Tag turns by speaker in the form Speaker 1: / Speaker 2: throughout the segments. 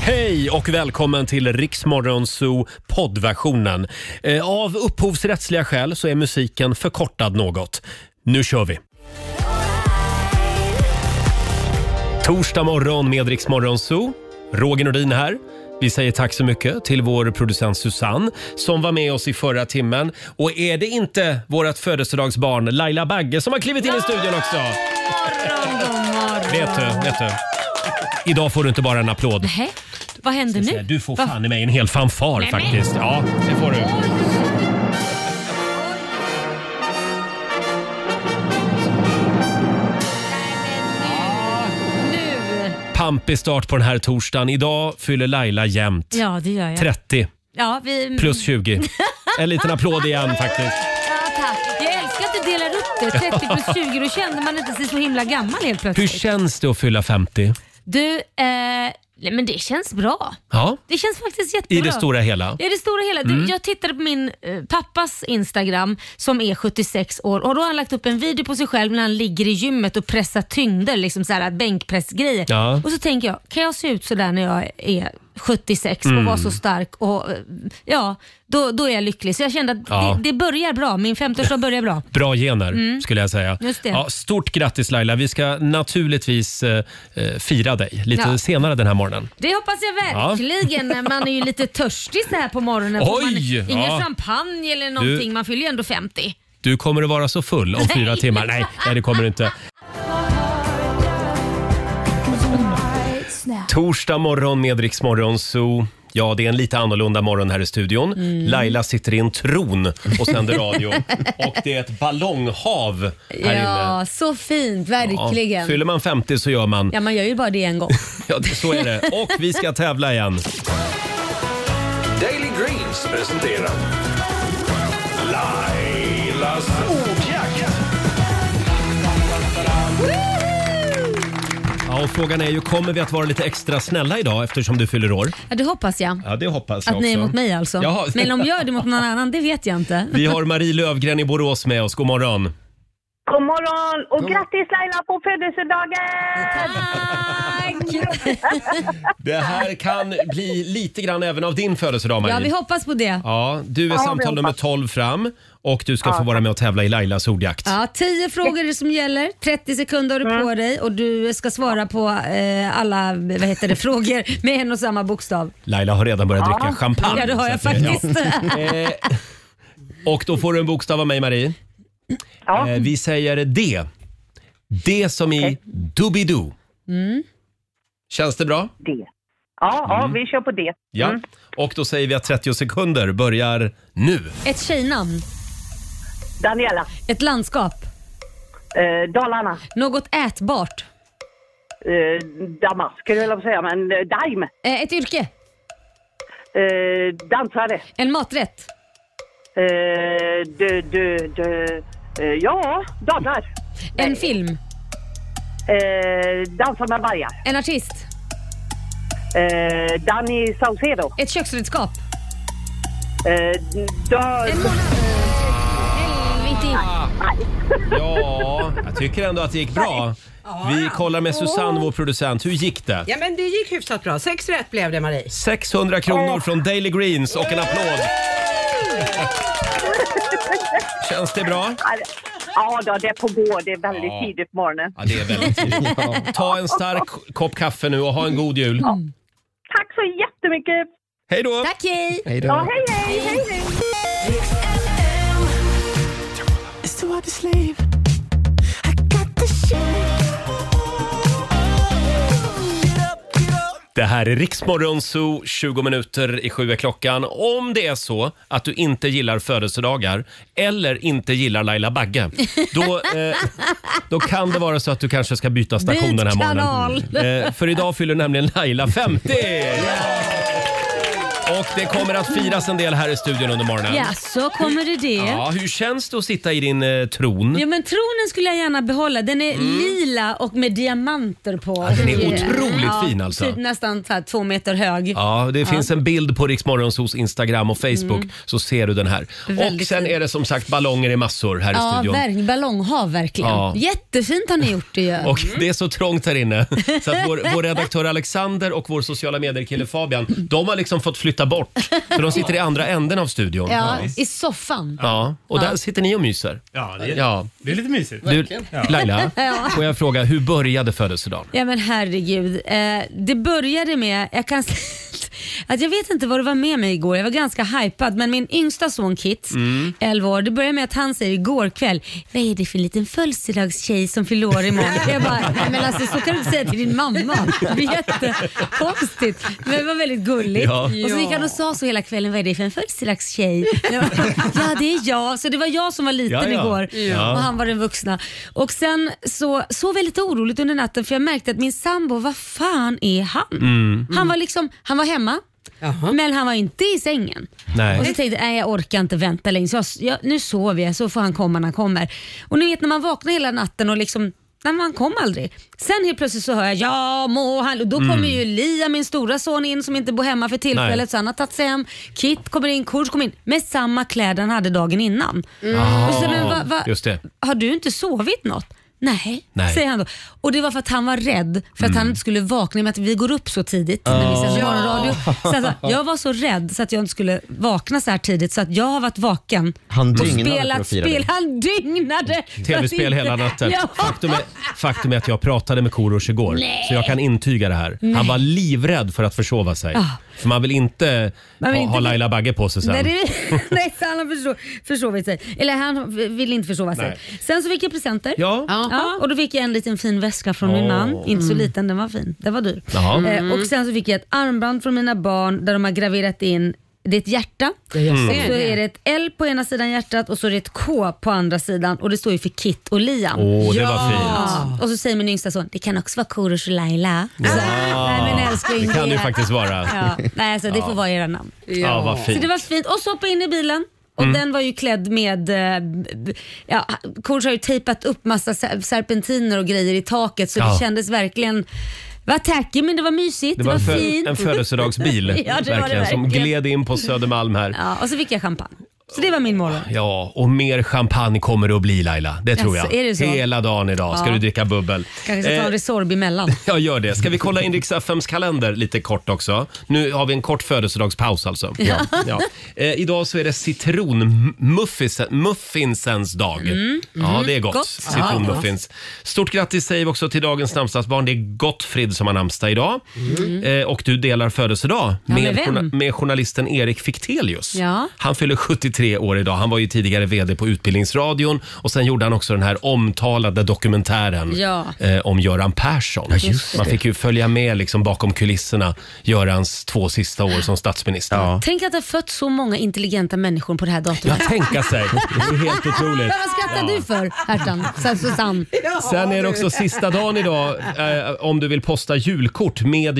Speaker 1: Hej och välkommen till Riksmorgon Zoo poddversionen. Eh, Av upphovsrättsliga skäl så är musiken förkortad något. Nu kör vi! Torsdag morgon med Riksmorgon Zoo. Roger Nordin här. Vi säger tack så mycket till vår producent Susanne som var med oss i förra timmen. Och är det inte vårt födelsedagsbarn Laila Bagge som har klivit in i studion också? Vet du, vet du. Idag får du inte bara en applåd.
Speaker 2: Hä? Vad händer nu?
Speaker 1: Du får
Speaker 2: Vad-
Speaker 1: fan i mig en hel fanfar
Speaker 2: Nej, men-
Speaker 1: faktiskt. Ja, det får du.
Speaker 2: Nu!
Speaker 1: Pampig start på den här torsdagen. Idag fyller Laila jämnt.
Speaker 2: Ja, det gör jag.
Speaker 1: 30
Speaker 2: Ja, vi...
Speaker 1: plus 20. En liten applåd igen faktiskt.
Speaker 2: Ja, tack. Jag älskar att du delar upp det. 30 plus 20, då kände man inte sig så himla gammal helt
Speaker 1: Hur
Speaker 2: plötsligt.
Speaker 1: känns det att fylla 50?
Speaker 2: Du, eh, nej, men det känns bra.
Speaker 1: Ja,
Speaker 2: Det känns faktiskt jättebra.
Speaker 1: i det stora hela.
Speaker 2: I det stora hela. Du,
Speaker 1: Mm.
Speaker 2: Jag tittade på min eh, pappas Instagram som är 76 år och då har han lagt upp en video på sig själv när han ligger i gymmet och pressar tyngder, liksom så här, bänkpressgrejer.
Speaker 1: Ja.
Speaker 2: Och så tänker jag, kan jag se ut sådär när jag är 76
Speaker 1: Mm.
Speaker 2: och vara så stark? Och, eh, ja, då, då är jag lycklig. Så jag kände att
Speaker 1: Ja.
Speaker 2: det, det börjar bra. Min 50-årsdag börjar bra.
Speaker 1: Bra gener skulle jag säga.
Speaker 2: Mm. Just det.
Speaker 1: Ja, stort grattis Laila. Vi ska naturligtvis eh, eh, fira dig lite
Speaker 2: Ja.
Speaker 1: senare den här morgonen.
Speaker 2: Det hoppas jag verkligen. Man är ju lite törstig så här på morgonen. för
Speaker 1: Oj,
Speaker 2: man, ingen
Speaker 1: ja.
Speaker 2: champagne eller någonting. Man fyller ju ändå 50.
Speaker 1: Du kommer att vara så full om fyra
Speaker 2: Nej.
Speaker 1: timmar. Nej, nej, det kommer du inte. Torsdag morgon med Rix Morgon Zoo. Ja, det är en lite annorlunda morgon här i studion.
Speaker 3: Mm.
Speaker 1: Laila sitter i en tron och sänder radio. och det är ett ballonghav här inne.
Speaker 3: Ja, så fint. Verkligen. Ja,
Speaker 1: fyller man 50 så gör man.
Speaker 3: man gör ju bara det en gång.
Speaker 1: Ja, det- så är det. Och vi ska tävla igen.
Speaker 4: Daily Greens presenterar Lailas ordjakt.
Speaker 1: Ja, och frågan är ju, kommer vi att vara lite extra snälla idag eftersom du fyller år?
Speaker 3: Ja, det hoppas jag.
Speaker 1: Ja, det hoppas
Speaker 3: Att ni är mot mig alltså.
Speaker 1: Jaha.
Speaker 3: Men om jag är det mot någon annan, det vet jag inte.
Speaker 1: Vi har Marie Lövgren i Borås med oss. God morgon.
Speaker 5: God morgon och grattis Laila på födelsedagen!
Speaker 1: Det här kan bli lite grann även av din födelsedag Marie.
Speaker 3: Ja, vi hoppas på det.
Speaker 1: Ja, du är
Speaker 5: vi
Speaker 1: samtal
Speaker 5: hoppas.
Speaker 1: nummer 12 fram och du ska få vara med och tävla i Lailas ordjakt.
Speaker 3: Ja, 10 frågor är det som gäller. 30 sekunder har du på dig och du ska svara på eh, alla vad heter det, frågor med en och samma bokstav.
Speaker 1: Laila har redan börjat dricka champagne.
Speaker 3: Ja, det har jag
Speaker 1: så att det- ja.
Speaker 3: faktiskt.
Speaker 1: Eh, Och då får du en bokstav av mig Marie.
Speaker 5: Ja.
Speaker 1: Eh, Vi säger D. D som i Doobidoo.
Speaker 3: Mm.
Speaker 1: Känns det bra?
Speaker 5: Det. Ja,
Speaker 6: Mm.
Speaker 5: ja, vi kör på det.
Speaker 1: Ja.
Speaker 3: Mm.
Speaker 1: Och då säger vi att 30 sekunder börjar nu.
Speaker 3: Ett tjejnamn,
Speaker 5: Daniela,
Speaker 3: ett landskap,
Speaker 5: eh, Dalarna,
Speaker 3: något ätbart,
Speaker 5: eh, Damask skulle jag vilja säga, men eh, Daim,
Speaker 3: eh, ett yrke,
Speaker 5: eh, dansare,
Speaker 3: en maträtt,
Speaker 5: eh, dö, dö, dö, eh, ja, dadlar,
Speaker 3: en film,
Speaker 5: eh, dansar med vargar,
Speaker 3: en artist,
Speaker 5: eh, Danny Saucedo,
Speaker 3: ett köksredskap.
Speaker 5: eh, dö,
Speaker 3: En månad. Helvete.
Speaker 1: Ja, jag tycker ändå att det gick bra. Vi kollar med Susanne, vår producent. Hur gick det?
Speaker 6: Ja men det gick hyfsat bra. Sex rätt blev det Marie.
Speaker 1: 600 kronor från Daily Greens och en applåd. Känns det bra?
Speaker 5: ja då, det får gå, det är väldigt tidigt på morgonen.
Speaker 1: Ja, det är väldigt tidigt. Ta en stark kopp kaffe nu och ha en god jul.
Speaker 5: Tack så jättemycket!
Speaker 1: Hej då!
Speaker 3: Tack, hej.
Speaker 5: Ja, hej hej! hej, hej.
Speaker 7: It's too hard to sleep. I got the shake. Get up, get up.
Speaker 1: Det här är Riksmorgon Zoo, 20 minuter i sju är klockan. Om det är så att du inte gillar födelsedagar eller inte gillar Laila Bagge, då, eh, då kan det vara så att du kanske ska byta station
Speaker 3: Byt
Speaker 1: den här morgonen.
Speaker 3: kanal.
Speaker 1: Eh, för idag fyller nämligen Laila 50! Och det kommer att firas en del här i studion under morgonen.
Speaker 8: Ja, så kommer det det?
Speaker 1: Ja, hur känns det att sitta i din eh, tron?
Speaker 2: Ja men tronen skulle jag gärna behålla. Den är lila och med diamanter på.
Speaker 1: Mm.
Speaker 2: Ja,
Speaker 1: Alltså, den är otroligt fin alltså.
Speaker 2: Typ nästan så här två meter hög.
Speaker 1: Ja, det finns en bild på Riksmorgonsos Instagram och Facebook så ser du den här.
Speaker 2: Mm. Väldigt
Speaker 1: och sen
Speaker 2: fin.
Speaker 1: är det som sagt ballonger i massor här i
Speaker 2: Ja,
Speaker 1: studion.
Speaker 2: verk, ballonghav verkligen.
Speaker 1: Ja.
Speaker 2: Jättefint har ni gjort det ju.
Speaker 1: Och det är så trångt här inne så att vår, vår redaktör Alexander och vår sociala medier-kille Fabian, de har liksom fått flytta bort. Så de sitter i andra änden av studion.
Speaker 2: ja, I soffan.
Speaker 1: Ja, och där sitter ni och myser.
Speaker 5: Ja, det är,
Speaker 1: Ja.
Speaker 5: Det är lite mysigt.
Speaker 1: Du, Laila, får jag fråga, hur började födelsedagen?
Speaker 2: Ja men herregud. Eh, det började med, jag kan säga att jag vet inte vad det var med mig igår. Jag var ganska hypad men min yngsta son Kit,
Speaker 1: Mm.
Speaker 2: 11 år, det började med att han säger igår kväll, vad är det för liten födelsedagstjej som fyller år imorgon? jag bara, nej men alltså så kan du inte säga till din mamma. Det är jättekonstigt. Men det var väldigt gulligt.
Speaker 1: Ja.
Speaker 2: Och så gick han och sa så hela kvällen, vad är det för en födelsedagstjej? Jag bara, ja det är jag. Så det var jag som var liten
Speaker 1: Ja, ja.
Speaker 2: igår
Speaker 1: Ja.
Speaker 2: och han var den vuxna. Och sen så sov jag lite oroligt under natten för jag märkte att min sambo, vad fan är han?
Speaker 1: Mm.
Speaker 2: Han var liksom, han var hemma.
Speaker 6: Jaha.
Speaker 2: Men han var inte i sängen.
Speaker 1: Nej.
Speaker 2: Och så tänkte jag, nej jag orkar inte vänta längre. Så jag, jag, nu sover jag så får han komma när han kommer. Och ni vet när man vaknar hela natten och liksom Nej, men han kom aldrig. Sen helt plötsligt så hör jag ja må han... Och då kommer ju Lia, min stora son, in som inte bor hemma för tillfället.
Speaker 1: Mm. Nej.
Speaker 2: Så han har tagit sig hem. Kit kommer in, Kurt kommer in med samma kläder han hade dagen innan.
Speaker 1: Ah,
Speaker 2: Och så, men, va, va,
Speaker 1: Just det.
Speaker 2: Har du inte sovit något? Nej,
Speaker 1: Nej.
Speaker 2: säger han då. Och det var för att han var rädd för att
Speaker 9: Mm.
Speaker 2: han inte skulle vakna i och med att vi går upp så tidigt när vi sänder morgonradio. Så alltså, jag var så rädd så att jag inte skulle vakna så här tidigt så att jag har varit vaken
Speaker 9: Han
Speaker 2: och
Speaker 9: dygnade för
Speaker 2: spelat
Speaker 9: att fira
Speaker 2: spel.
Speaker 9: dig.
Speaker 2: Han dygnade! för att
Speaker 1: Tv-spel
Speaker 2: inte-
Speaker 1: hela natten.
Speaker 2: Ja.
Speaker 1: Faktum, är, faktum är att jag pratade med Korosh igår, så jag kan intyga det här. Han var livrädd för att försova sig. För man vill inte
Speaker 2: Ah. Man vill
Speaker 1: ha,
Speaker 2: inte
Speaker 1: ha
Speaker 2: bli-
Speaker 1: Laila Bagge på sig sen.
Speaker 2: Nej, det, nej så han har försov, försovit sig. Eller han vill inte försova sig.
Speaker 1: Nej.
Speaker 2: Sen så fick jag presenter.
Speaker 1: Ja.
Speaker 2: Ja, och då fick jag en liten fin väska från min
Speaker 1: Åh.
Speaker 2: man. Inte så liten, den var fin. Den var dyr.
Speaker 1: Jaha.
Speaker 2: Eh, och sen så fick jag ett armband från mina barn där de har graverat in det är ett hjärta och så är det ett L på ena sidan hjärtat och så är det ett K på andra sidan och det står ju för Kit och Liam.
Speaker 1: Åh, det var fint.
Speaker 2: Ja. Och så säger min yngsta son, det kan också vara Korosh och Laila. Så, Nej men älskling.
Speaker 1: Det kan det ju
Speaker 2: är-
Speaker 1: faktiskt vara. Ja,
Speaker 2: Ja, nej, alltså, det får vara era namn.
Speaker 1: vad
Speaker 2: Så det
Speaker 1: fint. Mm.
Speaker 2: var fint. Och så hoppade jag in i bilen. Och den var ju klädd med, eh, b- b- ja, Kors har ju tejpat upp massa ser- serpentiner och grejer i taket så
Speaker 1: Ja.
Speaker 2: det kändes verkligen, det var tackigt men det var mysigt,
Speaker 1: Det var en, fö-
Speaker 2: fint.
Speaker 1: en födelsedagsbil
Speaker 2: Ja, det var det
Speaker 1: verkligen, som
Speaker 2: verkligen.
Speaker 1: gled in på Södermalm här.
Speaker 2: ja, och så fick jag champagne. Så det var min morgon.
Speaker 1: Ja, och mer champagne kommer det att bli Laila. Det tror
Speaker 2: Jaså,
Speaker 1: jag.
Speaker 2: är det så?
Speaker 1: Hela dagen idag ska
Speaker 2: Ja.
Speaker 1: du dricka bubbel.
Speaker 2: Kanske ska ta
Speaker 1: Eh,
Speaker 2: en Resorb emellan.
Speaker 1: Ja, gör det. Ska vi kolla in Rix FMs kalender lite kort också? Nu har vi en kort födelsedagspaus alltså. Ja. Ja. Eh, idag så är det citronmuffinsens dag. ja, det är gott.
Speaker 2: Mm. gott.
Speaker 1: Citronmuffins. Stort grattis säger vi också till dagens namnsdagsbarn. Det är Gottfrid som har namnsdag idag. Eh, och du delar födelsedag
Speaker 2: Mm. Ja,
Speaker 1: med,
Speaker 2: med vem?
Speaker 1: journa- med journalisten Erik Fichtelius.
Speaker 2: Ja.
Speaker 1: Han fyller 73 år idag. Han var ju tidigare VD på Utbildningsradion och sen gjorde han också den här omtalade dokumentären
Speaker 2: Ja.
Speaker 1: eh, om Göran Persson. Man fick ju följa med liksom bakom kulisserna Görans två sista år som statsminister. Ja.
Speaker 2: Tänk att det har fött så många intelligenta människor på det här datumet.
Speaker 1: Tänka sig, det är helt otroligt.
Speaker 2: Vad skrattar du för Hertan? Sen Susanne.
Speaker 1: Sen är det också sista dagen idag eh, om du vill posta julkort med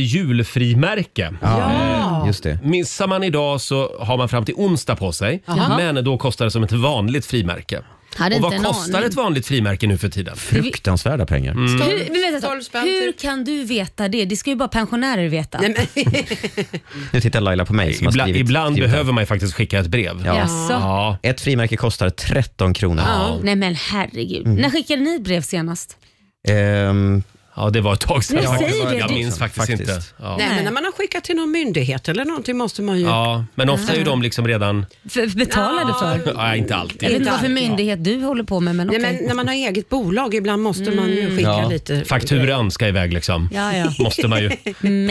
Speaker 1: julfrimärke.
Speaker 9: Ja, Mm, just det.
Speaker 1: Missar man idag så har man fram till onsdag på sig, men då kostar det som ett vanligt frimärke.
Speaker 2: Hade
Speaker 1: Och vad
Speaker 2: inte en
Speaker 1: kostar
Speaker 2: aning.
Speaker 1: ett vanligt frimärke nu för tiden?
Speaker 9: Fruktansvärda pengar.
Speaker 1: Mm.
Speaker 2: Hur, men vänta,
Speaker 6: Tolv
Speaker 2: så.
Speaker 6: spänn
Speaker 2: hur
Speaker 6: typ.
Speaker 2: kan du veta det? Det ska ju bara pensionärer veta.
Speaker 6: Nej, men,
Speaker 9: Nu tittar Laila på mig som har
Speaker 1: Ibla,
Speaker 9: skrivit.
Speaker 1: ibland
Speaker 9: skrivit
Speaker 1: behöver man ju faktiskt skicka ett brev.
Speaker 9: Ja.
Speaker 2: Jaså?
Speaker 1: Ja.
Speaker 9: Ett frimärke kostar 13 kronor.
Speaker 2: Nej men herregud.
Speaker 1: Mm.
Speaker 2: När skickade ni brev senast?
Speaker 9: Ehm,
Speaker 1: ja, det var ett tag sedan.
Speaker 2: Jag
Speaker 1: faktiskt.
Speaker 2: säger det.
Speaker 1: jag minns faktiskt,
Speaker 9: Faktiskt.
Speaker 1: inte. Ja.
Speaker 6: nej, men när man har skickat till någon myndighet eller någonting måste man ju...
Speaker 1: Ja, men ofta är ju de liksom redan...
Speaker 2: För, betalade för?
Speaker 1: Nej, inte
Speaker 2: Jag
Speaker 1: alltid.
Speaker 2: vet inte vad för
Speaker 6: Dark, ja.
Speaker 2: myndighet du håller på med men okej.
Speaker 6: Nej, men när man har eget bolag ibland måste man ju skicka
Speaker 9: Ja.
Speaker 6: lite.
Speaker 1: Fakturan ska iväg liksom.
Speaker 2: Ja, ja.
Speaker 1: Måste man ju.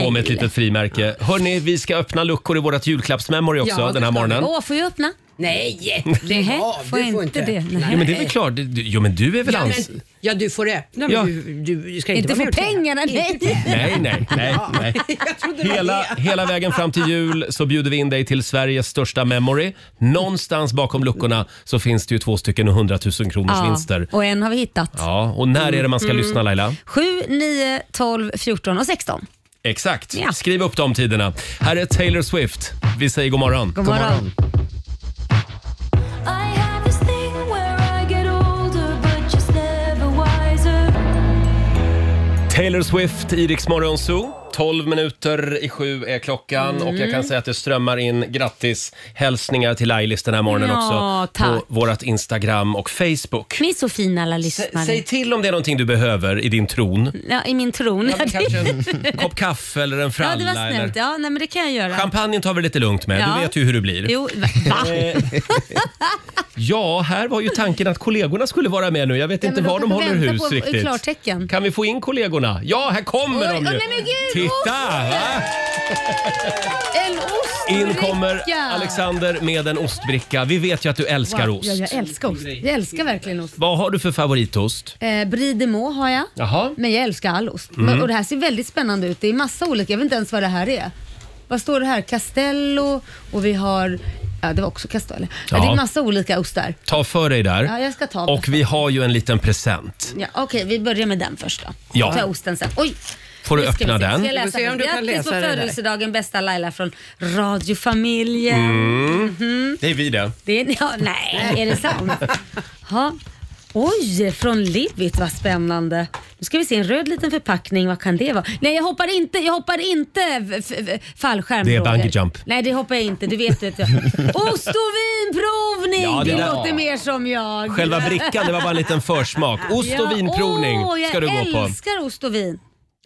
Speaker 1: På med ett litet frimärke. Hörni, vi ska öppna luckor i vårt julklappsmemory också
Speaker 6: Ja, det
Speaker 1: den här
Speaker 6: ska vi.
Speaker 1: morgonen.
Speaker 2: Åh, får jag öppna?
Speaker 6: Nej, lägg
Speaker 2: Nej,
Speaker 6: av.
Speaker 2: får
Speaker 6: du
Speaker 2: jag
Speaker 6: får
Speaker 2: inte
Speaker 6: inte.
Speaker 2: det? Nej.
Speaker 1: Jo, men det är väl klart. Du- Jo, men du är väl
Speaker 6: Ja,
Speaker 1: ans...
Speaker 6: men, ja, du får öppna men
Speaker 1: Ja.
Speaker 6: du, du ska inte
Speaker 2: Inte
Speaker 6: vara
Speaker 2: för
Speaker 6: med och säga.
Speaker 2: pengarna, nej.
Speaker 1: Nej, nej, nej. nej.
Speaker 6: Jag trodde det var
Speaker 1: Hela,
Speaker 6: det.
Speaker 1: hela vägen fram till jul så bjuder vi in dig till Sveriges största memory. Någonstans bakom luckorna så finns det ju två stycken 100 000 kronors
Speaker 2: Ja,
Speaker 1: vinster.
Speaker 2: och en har vi hittat.
Speaker 6: Mm.
Speaker 1: Ja, och när är det man ska lyssna Laila?
Speaker 2: 7, 9, 12, 14 och 16.
Speaker 1: Exakt.
Speaker 8: Ja.
Speaker 1: Skriv upp de tiderna. Här är Taylor Swift. Vi säger god morgon.
Speaker 8: God morgon.
Speaker 1: Taylor Swift i Rix Morgon Zoo. 12 minuter i sju är klockan och jag
Speaker 8: Mm.
Speaker 1: kan säga att det strömmar in grattis hälsningar till Lailis den här morgonen
Speaker 8: Ja,
Speaker 1: också
Speaker 8: tack.
Speaker 1: på vårt Instagram och Facebook.
Speaker 8: Ni är så fina alla lyssnare.
Speaker 1: S- säg till om det är någonting du behöver i din tron.
Speaker 8: ja, I min tron. Ja,
Speaker 1: Kanske en kopp kaffe eller en fralla.
Speaker 8: det var snällt.
Speaker 1: eller...
Speaker 8: Ja, nej, men det kan jag göra.
Speaker 1: Champagnen tar vi lite lugnt med.
Speaker 8: Ja.
Speaker 1: Du Eh, vet ju hur det blir.
Speaker 8: Jo, va?
Speaker 1: Ja, här var ju tanken att kollegorna skulle vara med nu. Jag vet inte
Speaker 8: men
Speaker 1: var
Speaker 8: de
Speaker 1: de
Speaker 8: får
Speaker 1: håller
Speaker 8: vänta
Speaker 1: hus
Speaker 8: på
Speaker 1: riktigt.
Speaker 8: klartecken.
Speaker 1: Kan vi få in kollegorna? Ja, här kommer
Speaker 8: Oj,
Speaker 1: de
Speaker 8: åh,
Speaker 1: ju.
Speaker 8: nej, men gud,
Speaker 1: Titta!
Speaker 8: osten!
Speaker 1: Va?
Speaker 8: En ost!
Speaker 1: In kommer Alexander med en ostbricka. Vi vet ju att du älskar ost.
Speaker 2: Ja, jag älskar ost. Jag älskar verkligen ost.
Speaker 1: Vad har du för favoritost?
Speaker 2: Eh, Brie de Meaux har jag.
Speaker 1: Jaha. Mm.
Speaker 2: Men jag älskar all ost. Men, och det här ser väldigt spännande ut. Det är massa olika. Jag vet inte ens vad det här är. Vad står det här? Castello och vi har... Ja, det var också Castello. Ja.
Speaker 1: Ja.
Speaker 2: det är massa olika ostar.
Speaker 1: Ta för dig där.
Speaker 2: Ja, jag ska ta
Speaker 1: Och vi har ju en liten present.
Speaker 2: Ja, Okej, vi börjar med den först då.
Speaker 1: Ja.
Speaker 2: Ta osten sen. Oj!
Speaker 1: Får du
Speaker 2: Nu ska
Speaker 1: öppna
Speaker 2: vi se.
Speaker 1: den?
Speaker 2: Ska jag läsa
Speaker 6: Vi får se om du
Speaker 2: först?
Speaker 6: kan
Speaker 2: Grattis på
Speaker 6: läsa det där.
Speaker 2: födelsedagen bästa Laila från radiofamiljen. Mm.
Speaker 1: Det är vi det.
Speaker 2: Det är, ja, nej, är det sant? Ha. Oj, från Livit, vad spännande. Nu ska vi se en röd liten förpackning, vad kan det vara? Nej, jag hoppar inte, jag hoppar inte f- f- fallskärm.
Speaker 1: Det är
Speaker 2: Roger.
Speaker 1: bungee jump.
Speaker 2: Nej, det hoppar jag inte, du vet att jag. Ost och vinprovning,
Speaker 1: Ja, det
Speaker 2: det,
Speaker 1: där-
Speaker 2: låter mer som jag.
Speaker 1: Själva brickan, det var bara en liten försmak. Ost och vinprovning
Speaker 2: åh,
Speaker 1: ska du gå
Speaker 2: Jag
Speaker 1: på.
Speaker 2: älskar ost och vin.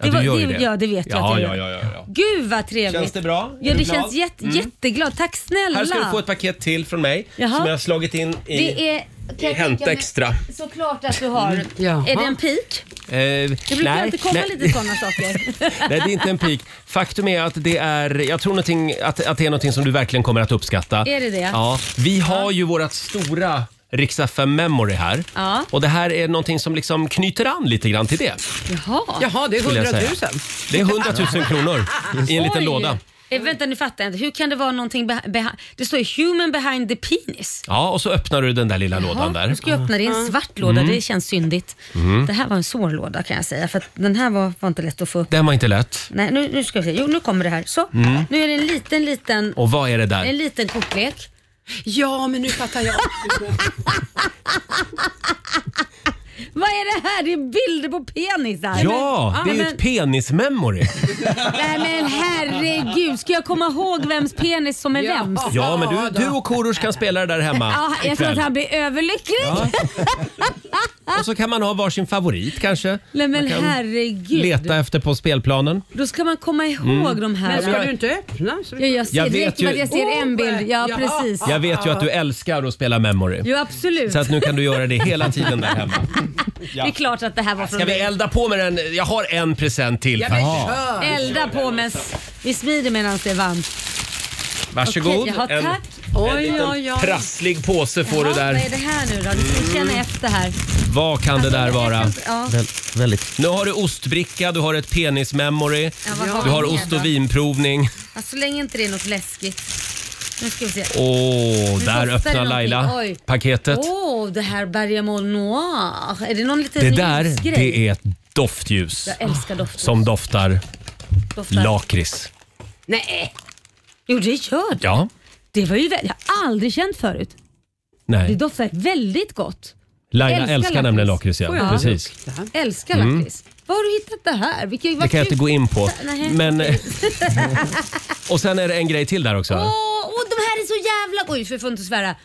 Speaker 1: Ja, du gör ju det.
Speaker 2: Ja, det vet jag
Speaker 1: Ja,
Speaker 2: att
Speaker 1: ja,
Speaker 2: jag
Speaker 1: ja, ja, ja.
Speaker 2: Gud vad trevligt.
Speaker 1: Känns det bra? Är
Speaker 2: Ja,
Speaker 1: du
Speaker 2: det
Speaker 1: glad? Mm.
Speaker 2: känns jätte, jätteglad. Tack snälla.
Speaker 1: Här ska du få ett paket till från mig
Speaker 2: Jaha.
Speaker 1: som jag har slagit in i...
Speaker 2: Det är... Mm. kan jag tänka
Speaker 1: Hämta
Speaker 2: mig-
Speaker 1: Extra.
Speaker 2: Såklart att du har.
Speaker 6: Jaha.
Speaker 2: Är det en pik?
Speaker 1: Eh,
Speaker 2: Det brukar
Speaker 1: nej,
Speaker 2: alltid komma
Speaker 1: nej,
Speaker 2: lite sådana saker.
Speaker 1: Nej, det är inte en pik. Faktum är att det är, jag tror någonting, att, att det är någonting som du verkligen kommer att uppskatta.
Speaker 2: Är det det?
Speaker 1: Ja. Vi har ju vårt stora Rix FM Memory här.
Speaker 2: Ja.
Speaker 1: Och det här är någonting som liksom knyter an lite grann till det.
Speaker 2: Jaha.
Speaker 6: Jaha, det är
Speaker 1: Skulle jag
Speaker 6: 100 000.
Speaker 1: säga. Det är 100 000 kronor i en liten
Speaker 2: Oj.
Speaker 1: låda.
Speaker 2: Eh, vänta nu fattar jag inte. Hur kan det vara någonting beha- beha- Det står ju human behind the penis.
Speaker 1: Ja, och så öppnar du den där lilla lådan
Speaker 2: nu
Speaker 1: där. Mm.
Speaker 2: ska jag öppna det. Det är en svart låda. Det känns syndigt. Det här var en svår låda kan jag säga. För att den här var, var inte lätt att få upp.
Speaker 1: Den var inte lätt.
Speaker 2: Nej, nu, nu ska vi se. Jo, nu kommer det här. Så.
Speaker 1: Mm.
Speaker 2: Nu är det en liten, liten,
Speaker 1: Och vad är det där?
Speaker 2: en liten kortlek.
Speaker 6: Ja, men nu fattar jag.
Speaker 2: Vad är det här? Det är bilder på penisar.
Speaker 1: Ja, det är ju
Speaker 2: men-
Speaker 1: ett penismemory.
Speaker 2: Nej men herregud, ska jag komma ihåg vems penis som är
Speaker 6: Ja.
Speaker 2: vems?
Speaker 1: Ja, men du, du och Korosh kan spela det där hemma
Speaker 2: Ja, jag tror
Speaker 1: ikväll.
Speaker 2: att han blir överlycklig.
Speaker 1: Och så kan man ha varsin favorit kanske.
Speaker 2: Nej men
Speaker 1: kan
Speaker 2: herregud.
Speaker 1: Leta efter på spelplanen.
Speaker 2: Då ska man komma ihåg de här.
Speaker 6: Men ska du Oh inte öppna? Så
Speaker 2: ja,
Speaker 6: vi...
Speaker 2: jag ser
Speaker 1: Jag vet
Speaker 2: direkt
Speaker 1: ju-
Speaker 2: att jag ser en bild. Ja,
Speaker 6: Ja.
Speaker 2: precis.
Speaker 1: Jag vet ju att du älskar att spela Memory.
Speaker 2: Jo absolut.
Speaker 1: Så att nu kan du göra det hela tiden där hemma.
Speaker 2: Det är klart att det här var från
Speaker 1: Ska vi
Speaker 2: dig.
Speaker 1: elda på med den? Jag har en present till
Speaker 6: Ja, men
Speaker 1: faktiskt.
Speaker 6: kör.
Speaker 2: Elda på men s- vi smider medan det är varmt.
Speaker 1: Varsågod.
Speaker 2: Okej, jaha,
Speaker 1: en,
Speaker 2: tack.
Speaker 1: en
Speaker 6: Oj, oj,
Speaker 1: liten
Speaker 6: oj.
Speaker 1: prasslig påse får du
Speaker 2: Ja, Vad
Speaker 1: där.
Speaker 2: är det här nu då? Du ska känna efter här.
Speaker 1: Vad kan det där
Speaker 2: Alltså, Jag
Speaker 1: vara?
Speaker 2: kan inte- Ja.
Speaker 9: Väl, väldigt.
Speaker 1: Nu har du ostbricka, du har ett penismemory,
Speaker 2: Ja, vad
Speaker 1: du har
Speaker 2: vi mer
Speaker 1: ost
Speaker 2: då?
Speaker 1: och vinprovning.
Speaker 2: Ja, så länge inte det är något läskigt. Nu ska vi se.
Speaker 1: Åh, där
Speaker 2: kostar det
Speaker 1: öppnar
Speaker 2: någonting.
Speaker 1: Laila
Speaker 2: Oj.
Speaker 1: paketet.
Speaker 2: Åh, det här Bergamol Noir. Är det någon liten
Speaker 1: Det där,
Speaker 2: ljusgrej?
Speaker 1: det är ett doftljus
Speaker 2: Jag älskar doften.
Speaker 1: som doftar
Speaker 2: Doftar.
Speaker 1: lakrits.
Speaker 6: Nej.
Speaker 2: Jo, det gör det.
Speaker 1: Ja,
Speaker 2: Det var ju väldigt, jag har aldrig känt förut. Det
Speaker 1: nej.
Speaker 2: doftar väldigt gott.
Speaker 1: Laila
Speaker 2: älskar
Speaker 1: älskar, nämligen lakrits,
Speaker 2: lakrits.
Speaker 1: ja.
Speaker 2: Ja.
Speaker 1: Precis.
Speaker 2: Älskar lakrits. Var har du hittat det här? Vilka,
Speaker 1: Mm. Det kan jag inte gå in på.
Speaker 2: Nej.
Speaker 1: Men, och sen är det en grej till där också.
Speaker 2: Åh, åh, de här är så jävla... Oj, för jag får inte svära.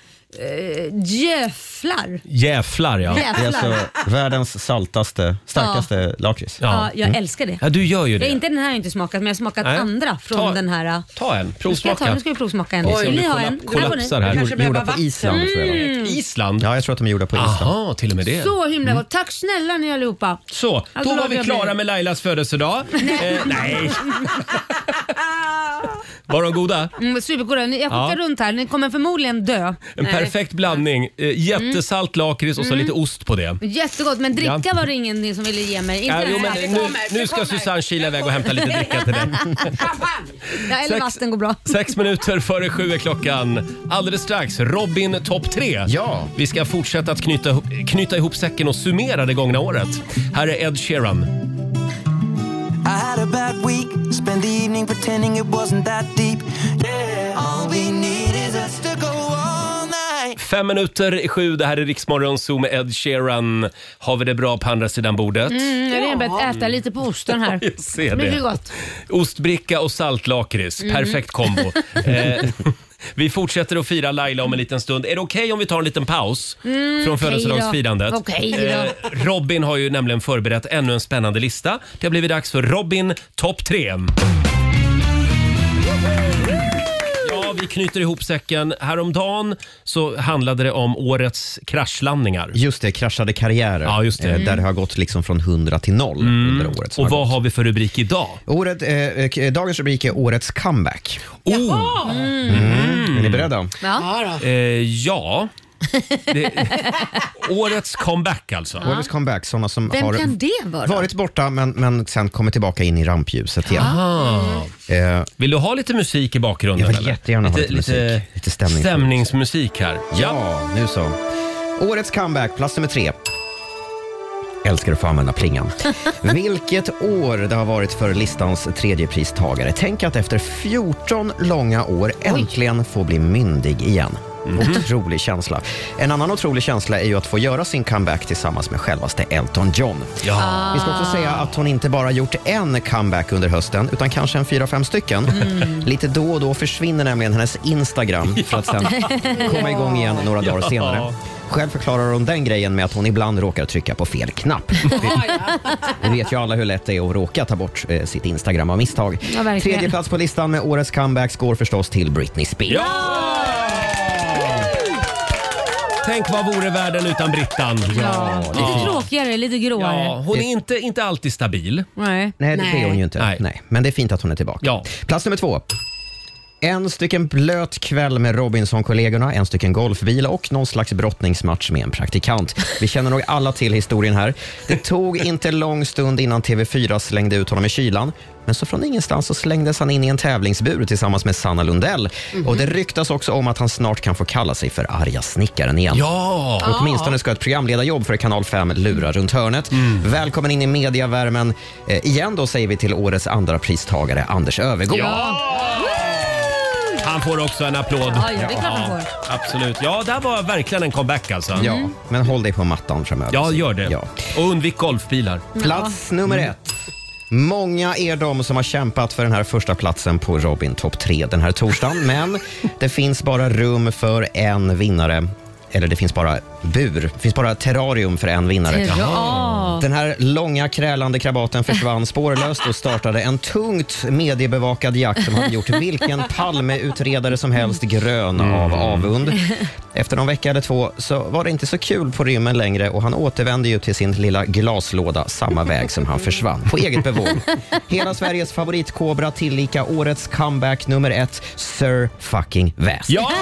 Speaker 2: Uh, Jöflar.
Speaker 1: Jävlar ja.
Speaker 9: Det är
Speaker 2: Jäflar.
Speaker 9: alltså världens saltaste, starkaste lakrits.
Speaker 1: Ja.
Speaker 2: Ja, jag älskar det.
Speaker 1: ja, du gör ju
Speaker 2: Jag,
Speaker 1: Mm. det.
Speaker 2: inte den här har jag inte smakat, men jag har smakat
Speaker 1: Nej.
Speaker 2: andra från
Speaker 1: Ta-
Speaker 2: den här. eh.
Speaker 1: Ta en,
Speaker 2: Nu ska, jag ta,
Speaker 1: provsmaka.
Speaker 2: nu ska vi provsmaka en.
Speaker 1: Oj,
Speaker 2: ni
Speaker 1: nu
Speaker 2: har
Speaker 1: kolla-
Speaker 2: en. Här får ni.
Speaker 1: Kollapsar här.
Speaker 6: kanske behöver
Speaker 9: Gjorda på
Speaker 6: vatten.
Speaker 9: Island tror jag de är.
Speaker 1: Island?
Speaker 9: Ja, jag tror att de är gjorda på Island.
Speaker 1: Mm. Aha, till och med det.
Speaker 2: Så himla gott.
Speaker 1: Mm.
Speaker 2: Tack snälla ni allihopa.
Speaker 1: Så,
Speaker 2: Ja,
Speaker 1: då
Speaker 2: då
Speaker 1: var
Speaker 2: lagar
Speaker 1: vi
Speaker 2: jag
Speaker 1: klara
Speaker 2: mig.
Speaker 1: med Lailas födelsedag. Nej. Eh, nej. Var de goda?
Speaker 2: Mm, supergoda. Ni- Jag
Speaker 1: Ja.
Speaker 2: skickar runt här. Ni kommer förmodligen dö.
Speaker 1: En perfekt blandning. Eh, Jättesalt lakrits och så lite ost på det.
Speaker 2: Jättegott, men dricka
Speaker 1: Ja.
Speaker 2: var det ingen som ville ge mig. Inte
Speaker 1: Ja,
Speaker 2: den
Speaker 1: jo,
Speaker 2: här.
Speaker 1: men nu, nu ska Susanne kila iväg och hämta lite dricka till dig.
Speaker 6: Champagne!
Speaker 2: ja, eller
Speaker 1: sex-
Speaker 2: vatten går bra.
Speaker 1: Sex minuter före sju är klockan. Alldeles strax, Robin topp tre.
Speaker 9: Ja.
Speaker 1: Vi ska fortsätta att knyta, ihop- knyta ihop säcken och summera det gångna året. Här är Ed Sheeran.
Speaker 7: I had a bad week, spent ain't pretending it wasn't that deep. Yeah, all we need is us to go all night.
Speaker 1: Fem minuter i sju, det här är Riksmorgon Zoo med Ed Sheeran. Har vi det bra på andra sidan bordet?
Speaker 8: Mm, jag har redan börjat äta lite på osten här.
Speaker 1: Jag ser det.
Speaker 8: Mycket gott.
Speaker 1: Ostbricka och saltlakrits,
Speaker 8: Mm.
Speaker 1: perfekt kombo. eh, vi fortsätter att fira Laila om en liten stund. Är det okej om vi tar en liten paus från
Speaker 8: Mm, okej då.
Speaker 1: födelsedagsfirandet? Eh,
Speaker 8: Okej då.
Speaker 1: Robin har ju nämligen förberett ännu en spännande lista. Det har blivit dags för Robin topp 3. Ja, vi knyter ihop säcken. Häromdagen så handlade det om årets kraschlandningar.
Speaker 9: Just det, kraschade karriärer.
Speaker 1: Ja, just det. Mm.
Speaker 9: Eh, Där det har gått liksom från 100 till 0 under året. som
Speaker 1: Och
Speaker 9: har
Speaker 1: vad
Speaker 9: gått.
Speaker 1: har vi för rubrik idag?
Speaker 9: Året, eh, eh, k- dagens rubrik är Årets comeback.
Speaker 1: Oh, Mm.
Speaker 9: Är ni beredda?
Speaker 6: Ja, då.
Speaker 1: eh, ja. Det, årets comeback alltså.
Speaker 9: Årets comeback, sådana som
Speaker 8: Vem
Speaker 9: har
Speaker 8: kan det vara?
Speaker 9: varit borta men, men sen kommit tillbaka in i rampljuset
Speaker 1: Ah.
Speaker 9: igen. Eh,
Speaker 1: Vill du ha lite musik i bakgrunden?
Speaker 9: Jag vill
Speaker 1: eller?
Speaker 9: jättegärna ha lite musik.
Speaker 1: Lite,
Speaker 9: Lite stämningsmusik.
Speaker 1: stämningsmusik här. Ja.
Speaker 9: ja, nu så. Årets comeback, plats nummer tre. Älskar att få använda plingan. Vilket år det har varit för listans tredjepristagare. Tänk att efter 14 långa år äntligen få bli myndig igen. Otrolig känsla. En annan otrolig känsla är ju att få göra sin comeback tillsammans med självaste Elton John.
Speaker 1: ja.
Speaker 9: Vi ska också säga att hon inte bara gjort en comeback under hösten, utan kanske en fyra, fem stycken.
Speaker 8: Mm.
Speaker 9: Lite då och då försvinner nämligen hennes Instagram för att sen komma igång igen några dagar senare. Själv förklarar hon den grejen med att hon ibland råkar trycka på fel knapp. Vi vet ju alla hur lätt det är att råka ta bort eh, sitt Instagram av misstag.
Speaker 8: Ja, verkligen.
Speaker 9: Tredje plats på listan med årets comebacks går förstås till Britney Spears.
Speaker 1: ja! Tänk vad vore världen utan Brittan?
Speaker 8: Ja, lite tråkigare, lite gråare.
Speaker 1: Ja, hon är inte, inte alltid stabil.
Speaker 8: Nej.
Speaker 9: Nej, det är hon ju inte.
Speaker 1: Nej.
Speaker 9: Nej. Men det är fint att hon är tillbaka.
Speaker 1: Ja.
Speaker 9: Plats nummer två. En stycken blöt kväll med Robinson-kollegorna, en stycken golfvila och någon slags brottningsmatch med en praktikant. Vi känner nog alla till historien här. Det tog inte lång stund innan TV4 slängde ut honom i kylan. Men så från ingenstans så slängdes han in i en tävlingsbur tillsammans med Sanna Lundell. Och det ryktas också om att han snart kan få kalla sig för arga snickaren igen.
Speaker 1: Ja!
Speaker 9: Åtminstone ska ett programledarjobb för Kanal 5 lura runt hörnet.
Speaker 1: Mm.
Speaker 9: Välkommen in i mediavärmen. Eh, igen då säger vi till årets andra pristagare Anders Öfvergård.
Speaker 1: Han får också en applåd.
Speaker 8: Ja, ja, det är klart han får.
Speaker 1: Absolut. Ja, där var verkligen en comeback alltså.
Speaker 9: Ja, men håll dig på mattan framöver.
Speaker 1: Ja, gör det. Mm.
Speaker 9: Ja.
Speaker 1: Och undvik golfbilar.
Speaker 9: Plats nummer ett. Många är de som har kämpat för den här första platsen på Robin topp 3 den här torsdagen, men det finns bara rum för en vinnare. Eller det finns bara bur, det finns bara terrarium för en vinnare.
Speaker 8: Ja.
Speaker 9: Den här långa krälande krabaten försvann spårlöst och startade en tungt mediebevakad jakt som hade gjort vilken Palmeutredare som helst grön
Speaker 1: Mm.
Speaker 9: av avund. Efter någon vecka eller två så var det inte så kul på rymmen längre och han återvände ju till sin lilla glaslåda samma väg som han försvann, på eget bevåg. Hela Sveriges favoritkobra tillika årets comeback nummer ett, Sir fucking Väst.
Speaker 1: Ja!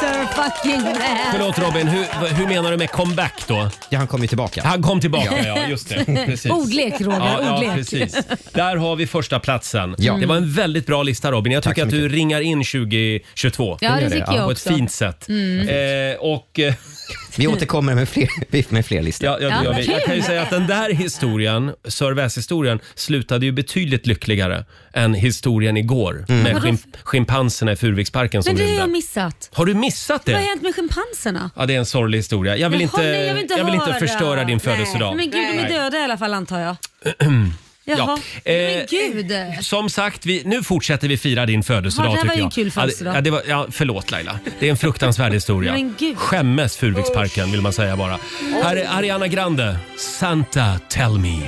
Speaker 8: Sir fucking man.
Speaker 1: Förlåt Robin, hur, hur menar du med comeback då?
Speaker 9: Ja, han kom ju tillbaka.
Speaker 1: Han kom tillbaka, ja. just det. Precis.
Speaker 8: Ordlek Roger,
Speaker 1: Ja, ja,
Speaker 8: ordlek.
Speaker 1: precis. Där har vi första platsen.
Speaker 9: Ja.
Speaker 1: Det var en väldigt bra lista Robin. Jag tycker
Speaker 9: så
Speaker 1: att du ringar in 2022.
Speaker 8: Ja, det tycker jag
Speaker 1: På
Speaker 8: också. Mm.
Speaker 1: ett fint sätt. Eh, och, eh,
Speaker 9: Vi återkommer med fler, med fler listor.
Speaker 1: ja, ja, det
Speaker 8: Ja,
Speaker 1: gör vi. Jag kan ju
Speaker 8: kul.
Speaker 1: säga att den där historien, Sir Väs-historien, slutade ju betydligt lyckligare än historien igår med
Speaker 8: Mm. Vadå?
Speaker 1: schimp- schimpanserna i Furuviksparken som
Speaker 8: Men det har jag
Speaker 1: rymde.
Speaker 8: missat.
Speaker 1: Har du missat
Speaker 8: Vad har
Speaker 1: det?
Speaker 8: hänt med schimpanserna?
Speaker 1: Ja, det är en sorglig historia. Jag vill,
Speaker 8: Jaha,
Speaker 1: inte,
Speaker 8: nej, jag vill inte höra.
Speaker 1: förstöra din
Speaker 8: Nej,
Speaker 1: födelsedag.
Speaker 8: Men gud, de är döda i alla fall antar jag. Jaha.
Speaker 1: Ja. Eh,
Speaker 8: Men gud.
Speaker 1: Som sagt, vi, nu fortsätter vi fira din födelsedag
Speaker 8: Ja, det här
Speaker 1: tycker
Speaker 8: var ju
Speaker 1: jag.
Speaker 8: en kul födelsedag.
Speaker 1: Ja, det, ja, det var, ja, förlåt Laila. Det är en fruktansvärd historia.
Speaker 8: Men gud.
Speaker 1: Skämmes Furuviksparken vill man säga bara. Här är Ariana Grande, Santa tell me.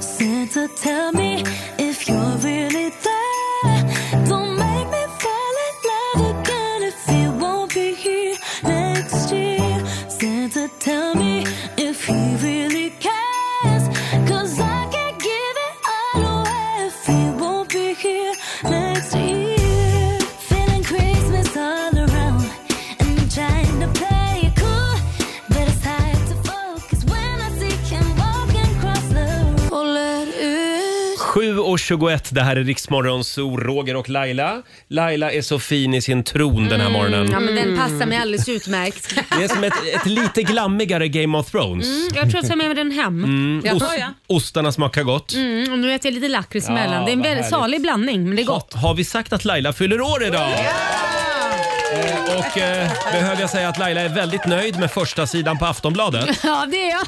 Speaker 5: Santa, tell me if you're really there. Don't make me fall in love again if you won't be here next year. Santa, tell me if he really cares. Cause I can't give it all away if he won't be here next year. Feeling Christmas all around and I'm trying to play it cool, but it's hard to focus when I see him walking across the road. Håller ut
Speaker 1: 7.21, det här är Riksmorgon, så Roger och Laila. Laila är så fin i sin tron den här
Speaker 8: Mm.
Speaker 1: morgonen.
Speaker 10: Ja, men den passar mig alldeles utmärkt.
Speaker 1: Det är som ett, ett lite glammigare Game of Thrones.
Speaker 8: Mm.
Speaker 1: Mm.
Speaker 2: Jag tror att jag tar med mig den hem.
Speaker 6: Jaha,
Speaker 1: Ost-
Speaker 6: ja.
Speaker 1: Ostarna smakar gott.
Speaker 2: Mm, och nu äter jag lite lakrits
Speaker 1: Ja,
Speaker 2: emellan. Det är en
Speaker 1: vad
Speaker 2: väldigt
Speaker 1: härligt.
Speaker 2: salig blandning, men det är
Speaker 1: Ha,
Speaker 2: gott.
Speaker 1: har vi sagt att Laila fyller år idag? Eh, Och eh, behöver jag säga att Laila är väldigt nöjd med första sidan på Aftonbladet.
Speaker 2: Ja, det är jag.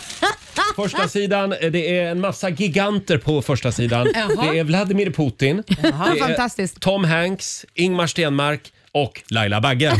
Speaker 1: Första sidan, eh, det är en massa giganter på första sidan. Det är Vladimir Putin,
Speaker 2: Ja, fantastiskt.
Speaker 1: Tom Hanks, Ingmar Stenmark och Laila Bagge.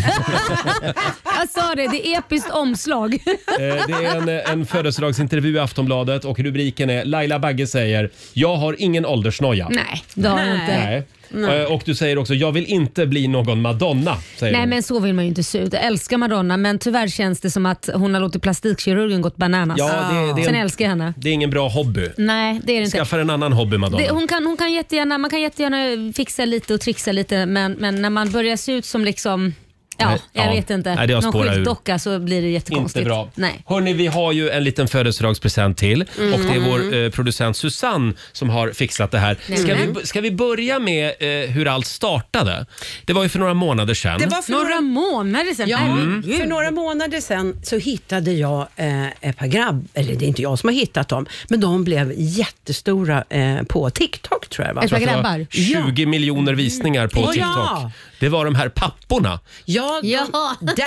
Speaker 2: Jag sa det, det är episkt omslag.
Speaker 1: Eh, Det är en, en födelsedagsintervju i Aftonbladet och rubriken är Laila Bagge säger “Jag har ingen åldersnoja”.
Speaker 2: Nej, det har jag inte.
Speaker 1: Nej. Eh, Och du säger också “Jag vill inte bli någon Madonna”. Säger
Speaker 2: Nej
Speaker 1: hon.
Speaker 2: men så vill man ju inte se ut. Jag älskar Madonna men tyvärr känns det som att hon har låtit plastikkirurgen gått bananas.
Speaker 1: Ja, det- det är
Speaker 2: Sen
Speaker 1: en-
Speaker 2: älskar jag henne.
Speaker 1: Det är ingen bra hobby.
Speaker 2: Nej det är det inte.
Speaker 1: Skaffa en annan hobby Madonna.
Speaker 2: Det, hon kan, hon kan jättegärna, man kan jättegärna fixa lite och trixa lite men, men när man börjar se ut som liksom Ja,
Speaker 1: Nej,
Speaker 2: jag
Speaker 1: ja.
Speaker 2: vet inte.
Speaker 1: Nej, det har
Speaker 2: Någon
Speaker 1: spårat ur.
Speaker 2: skyltdocka så blir det jättekonstigt.
Speaker 1: Inte bra.
Speaker 2: Nej.
Speaker 1: Hörni, vi har ju en liten födelsedagspresent till och det är vår eh, producent Susanne som har fixat det här. Ska vi, ska vi börja med eh, hur allt startade? Det var ju för några månader sedan.
Speaker 6: Det var för några
Speaker 2: Några månader sen.
Speaker 6: Ja,
Speaker 2: Herregud.
Speaker 6: för några månader sedan så hittade jag eh, ett par grabb, eller det är inte jag som har hittat dem, men de blev jättestora eh, på TikTok tror jag det var.
Speaker 2: Ett par
Speaker 1: Det var
Speaker 2: grabbar.
Speaker 1: 20 miljoner visningar på
Speaker 6: Ja.
Speaker 1: TikTok. Det var de här papporna
Speaker 6: Ja, de,
Speaker 2: Ja.
Speaker 6: Dad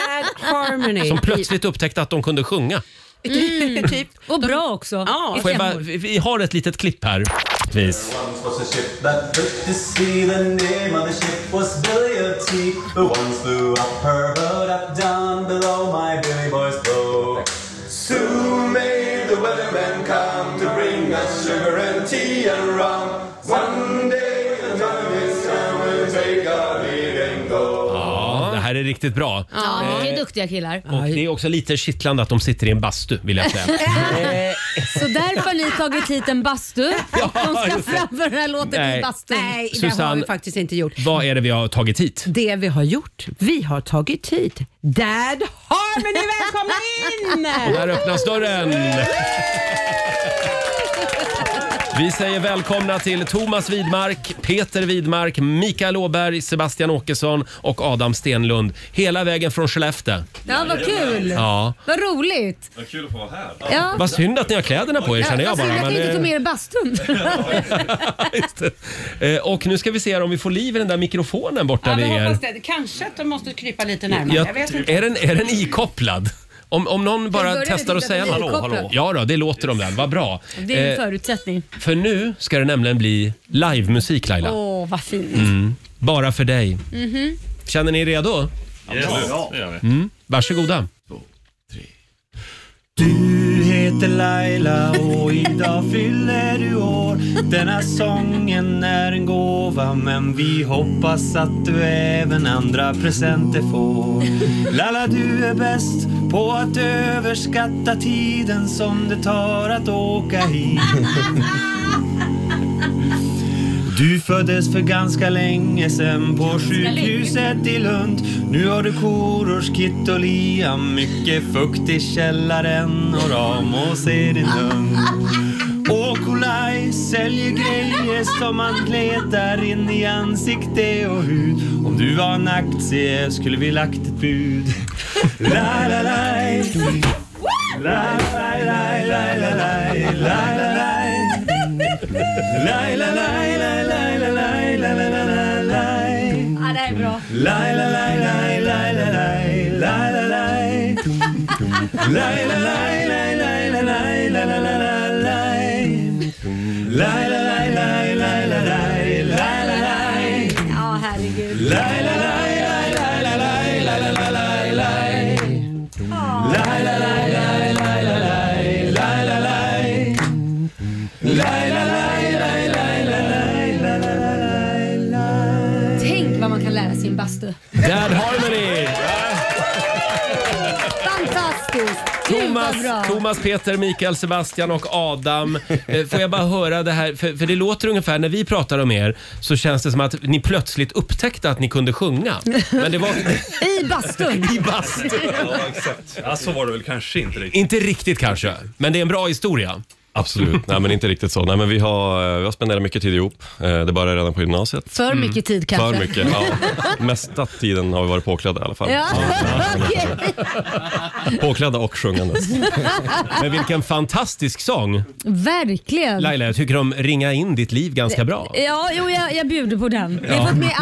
Speaker 6: Harmony.
Speaker 1: som plötsligt upptäckte att de kunde sjunga.
Speaker 6: typ.
Speaker 1: Mm.
Speaker 2: Och bra också.
Speaker 6: Ja,
Speaker 1: Får jag bara, vi vi har ett litet klipp här. Vis.
Speaker 11: was a ship that put to sea. The name of the ship was Billy O'Tee. The one flew up her boat, up down below my Billy Boy's boat. Soon may the weatherman come to bring us sugar and tea and rum. One day the time is come we'll take our leave and go.
Speaker 1: Ja, det här är riktigt bra.
Speaker 2: Ja, det är duktiga killar.
Speaker 1: Och det är också lite kittlande att de sitter i en bastu vill jag säga.
Speaker 2: Så därför har ni tagit hit en bastu.
Speaker 1: Ja,
Speaker 2: De ska
Speaker 1: just det.
Speaker 2: framföra den här låten
Speaker 1: Nej.
Speaker 2: i bastun.
Speaker 6: nej, det har
Speaker 1: Susanne-
Speaker 6: vi faktiskt inte gjort.
Speaker 1: Vad är det vi har tagit hit?
Speaker 6: Det vi har gjort, vi har tagit hit Dad Harmony. Välkomna
Speaker 1: Och
Speaker 6: in!
Speaker 1: där öppnas dörren! Vi säger välkomna till Thomas Widmark, Peter Widmark, Mikael Åberg, Sebastian Åkesson och Adam Stenlund. Hela vägen från Skellefteå.
Speaker 2: Ja, vad kul!
Speaker 1: Ja.
Speaker 2: Vad roligt!
Speaker 5: Vad kul att få vara här.
Speaker 2: Ja.
Speaker 1: Vad synd att ni har kläderna på er känner jag
Speaker 2: Vad synd
Speaker 1: bara. men,
Speaker 2: att ni inte tog
Speaker 1: eh,
Speaker 2: med er bastun.
Speaker 1: just det. Eh, och nu ska vi se om vi får liv i den där mikrofonen borta vid er.
Speaker 6: det. Kanske att de måste krypa lite
Speaker 1: Jag, är, den, är den ikopplad? Om, om någon bara
Speaker 2: började
Speaker 1: testar att
Speaker 2: titta på
Speaker 1: säga
Speaker 2: den typ
Speaker 1: hallå,
Speaker 2: ikopplad.
Speaker 1: hallå. Ja då, det låter om den. Vad bra.
Speaker 2: Det är en
Speaker 1: Eh,
Speaker 2: förutsättning.
Speaker 1: För nu ska det nämligen bli livemusik Laila.
Speaker 2: Åh, Mhm. vad fint.
Speaker 1: Mm. Bara för dig. Känner ni er redo? Mm.
Speaker 5: Ja, det gör vi.
Speaker 1: Varsågoda.
Speaker 11: Du heter Laila och idag fyller du år Denna sången är en gåva men vi hoppas att du även andra presenter får Lalla du är bäst på att överskatta tiden som det tar att åka hit du föddes för ganska länge sen på sjukhuset i Lund. Nu har du korors, kitt och lia, mycket fukt i källaren och Ramos är din hund. Och Olaj säljer grejer som man kletar in i ansikte och hud. Om du var en aktie skulle vi lagt ett bud. La, la, la. La, la, la, la, la, la, la, la, la. Laj, la, laj, laj, laj, la, laj, la, la, la, la, laj.
Speaker 2: Ja, det här är bra.
Speaker 11: Laj, la, laj, laj, laj, la, laj, la, la, laj. Laj, la, laj, laj, laj, la, laj, la, la, la, la, laj. Laj, la, laj, laj, laj, la, laj, la, la, laj.
Speaker 2: Ja, herregud.
Speaker 11: Laj, la, laj, laj, laj, la, laj, la, la, la, laj, laj. Laj, la, laj, laj, laj, la, laj, la, la, laj. Laj, la, laj, laj, laj, la, laj, la, la, la, laj, laj.
Speaker 2: Tänk vad man kan lära sig i en bastu.
Speaker 1: Dad Harmony!
Speaker 2: Fantastiskt! Gud vad bra.
Speaker 1: Thomas, Thomas, Peter, Mikael, Sebastian och Adam. Eh, Får jag bara höra det här? För, för det låter ungefär, när vi pratar om er så känns det som att ni plötsligt upptäckte att ni kunde sjunga. Men det var
Speaker 2: I bastun.
Speaker 1: i bast.
Speaker 5: Ja, exakt. Ja, så var det väl kanske inte riktigt.
Speaker 1: Inte riktigt kanske, men det är en bra historia.
Speaker 12: Absolut, nej men inte riktigt så. Nej, men vi, har, eh, vi har spenderat mycket tid ihop. Eh, Det började redan på gymnasiet.
Speaker 13: För mycket tid kanske.
Speaker 1: Alltså.
Speaker 12: För mycket, ja. Mesta tiden har vi varit påklädda i alla fall.
Speaker 13: Ja, okej.
Speaker 12: Påklädda och sjungandes. Men vilken fantastisk sång!
Speaker 2: Verkligen.
Speaker 1: Laila, jag tycker de ringar in ditt liv ganska bra.
Speaker 2: Ja, jo, jag, jag bjuder på den. Vi
Speaker 1: Ja.
Speaker 2: har fått med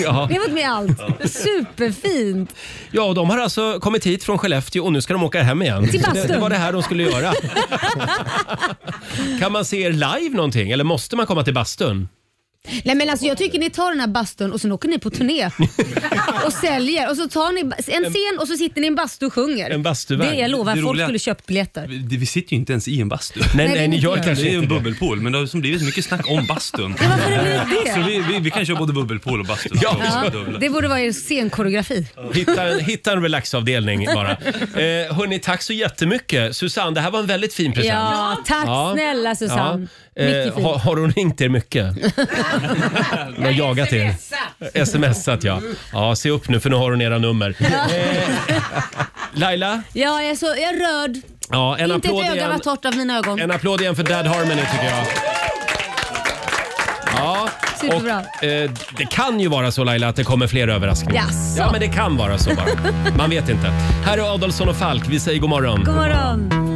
Speaker 1: Ja.
Speaker 2: Vi har fått med allt. Superfint.
Speaker 1: Ja, och de har alltså kommit hit från Skellefteå och nu ska de åka hem igen.
Speaker 2: Till
Speaker 1: det,
Speaker 2: bastun.
Speaker 1: det var det här de skulle göra. kan man se er live någonting eller måste man komma till bastun?
Speaker 2: Nej men alltså jag tycker ni tar den här bastun och sen åker ni på turné och säljer och så tar ni en scen och så sitter ni i en bastu och sjunger.
Speaker 4: En bastuvagn.
Speaker 2: Det jag lovar,
Speaker 4: Det
Speaker 2: folk
Speaker 4: roliga-
Speaker 2: skulle köpt biljetter.
Speaker 4: Vi, vi sitter ju inte ens i en bastu.
Speaker 2: Nej, nej, ni gör kanske
Speaker 4: Det är ju en
Speaker 1: inte det.
Speaker 4: bubbelpool, men det har som blivit mycket snack om bastun.
Speaker 2: Ja, varför har det blivit det?
Speaker 4: Så vi, vi, vi kan köra både bubbelpool och bastu.
Speaker 2: Ja, det borde vara er scenkoreografi.
Speaker 1: Hitta en, hitta en relaxavdelning bara. Eh, hörni, tack så jättemycket. Susanne, det här var en väldigt fin present.
Speaker 2: Ja, tack snälla, Susanne. Mycket
Speaker 1: Eh,
Speaker 2: fint.
Speaker 1: har, har hon ringt er mycket? Hon har jagat er? Smsat ja. Ja, se upp nu för nu har hon era nummer. Eh, Laila,
Speaker 2: Ja, jag är, så, jag är rörd.
Speaker 1: ja, en
Speaker 2: Inte
Speaker 1: applåd
Speaker 2: ett öga var
Speaker 1: igen.
Speaker 2: torrt av mina ögon.
Speaker 1: En applåd igen för Dad Harmony tycker jag. Ja,
Speaker 2: Superbra.
Speaker 1: och, eh, det kan ju vara så Laila att det kommer fler överraskningar.
Speaker 2: Jaså?
Speaker 1: Ja, men det kan vara så bara. Man vet inte. Här är Adolfsson och Falk. Vi säger god morgon.
Speaker 2: God morgon.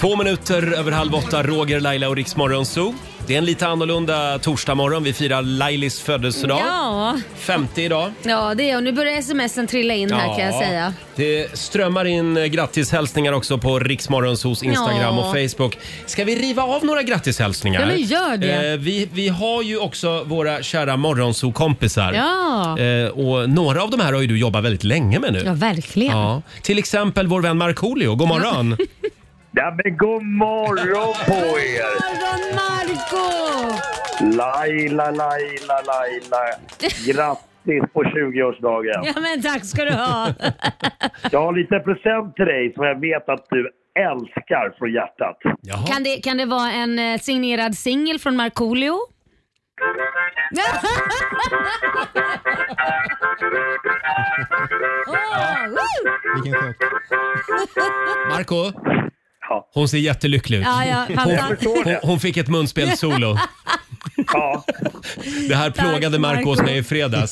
Speaker 1: Två minuter över halv åtta, Roger, Laila och Riksmorgon Zoo. Det är en lite annorlunda torsdagmorgon. Vi firar Lailis födelsedag.
Speaker 2: Ja.
Speaker 1: 50 idag.
Speaker 2: ja, det är jag. Nu börjar smsen trilla in här kan jag
Speaker 1: Ja.
Speaker 2: säga.
Speaker 1: Det strömmar in eh, grattishälsningar också på Riksmorgonsos Instagram
Speaker 2: Ja.
Speaker 1: och Facebook. Ska vi riva av några grattishälsningar?
Speaker 2: Ja, men gör det.
Speaker 1: Eh, vi, vi har ju också våra kära Morgonzoo-kompisar.
Speaker 2: Ja.
Speaker 1: Eh, och några av de här har ju du jobbat väldigt länge med nu.
Speaker 2: Ja, verkligen.
Speaker 1: Ja. Till exempel vår vän Markoolio. God morgon!
Speaker 14: Ja, men god morgon på er!
Speaker 2: Morgon Marco!
Speaker 14: Laila, Laila, Laila. Grattis på 20-årsdagen.
Speaker 2: Ja men tack ska du ha.
Speaker 14: Jag har lite present till dig som jag vet att du älskar från hjärtat.
Speaker 2: Kan det, kan det vara en eh, signerad singel från Markoolio?
Speaker 1: Vilken chock. Marco Hon ser jättelycklig ut.
Speaker 2: Ja, ja, pappa.
Speaker 1: hon,
Speaker 2: Jag förstår
Speaker 1: hon,
Speaker 2: det.
Speaker 1: hon fick ett munspelssolo.
Speaker 14: Ja.
Speaker 1: Det här plågade Marco hos
Speaker 14: Marco.
Speaker 1: mig i fredags.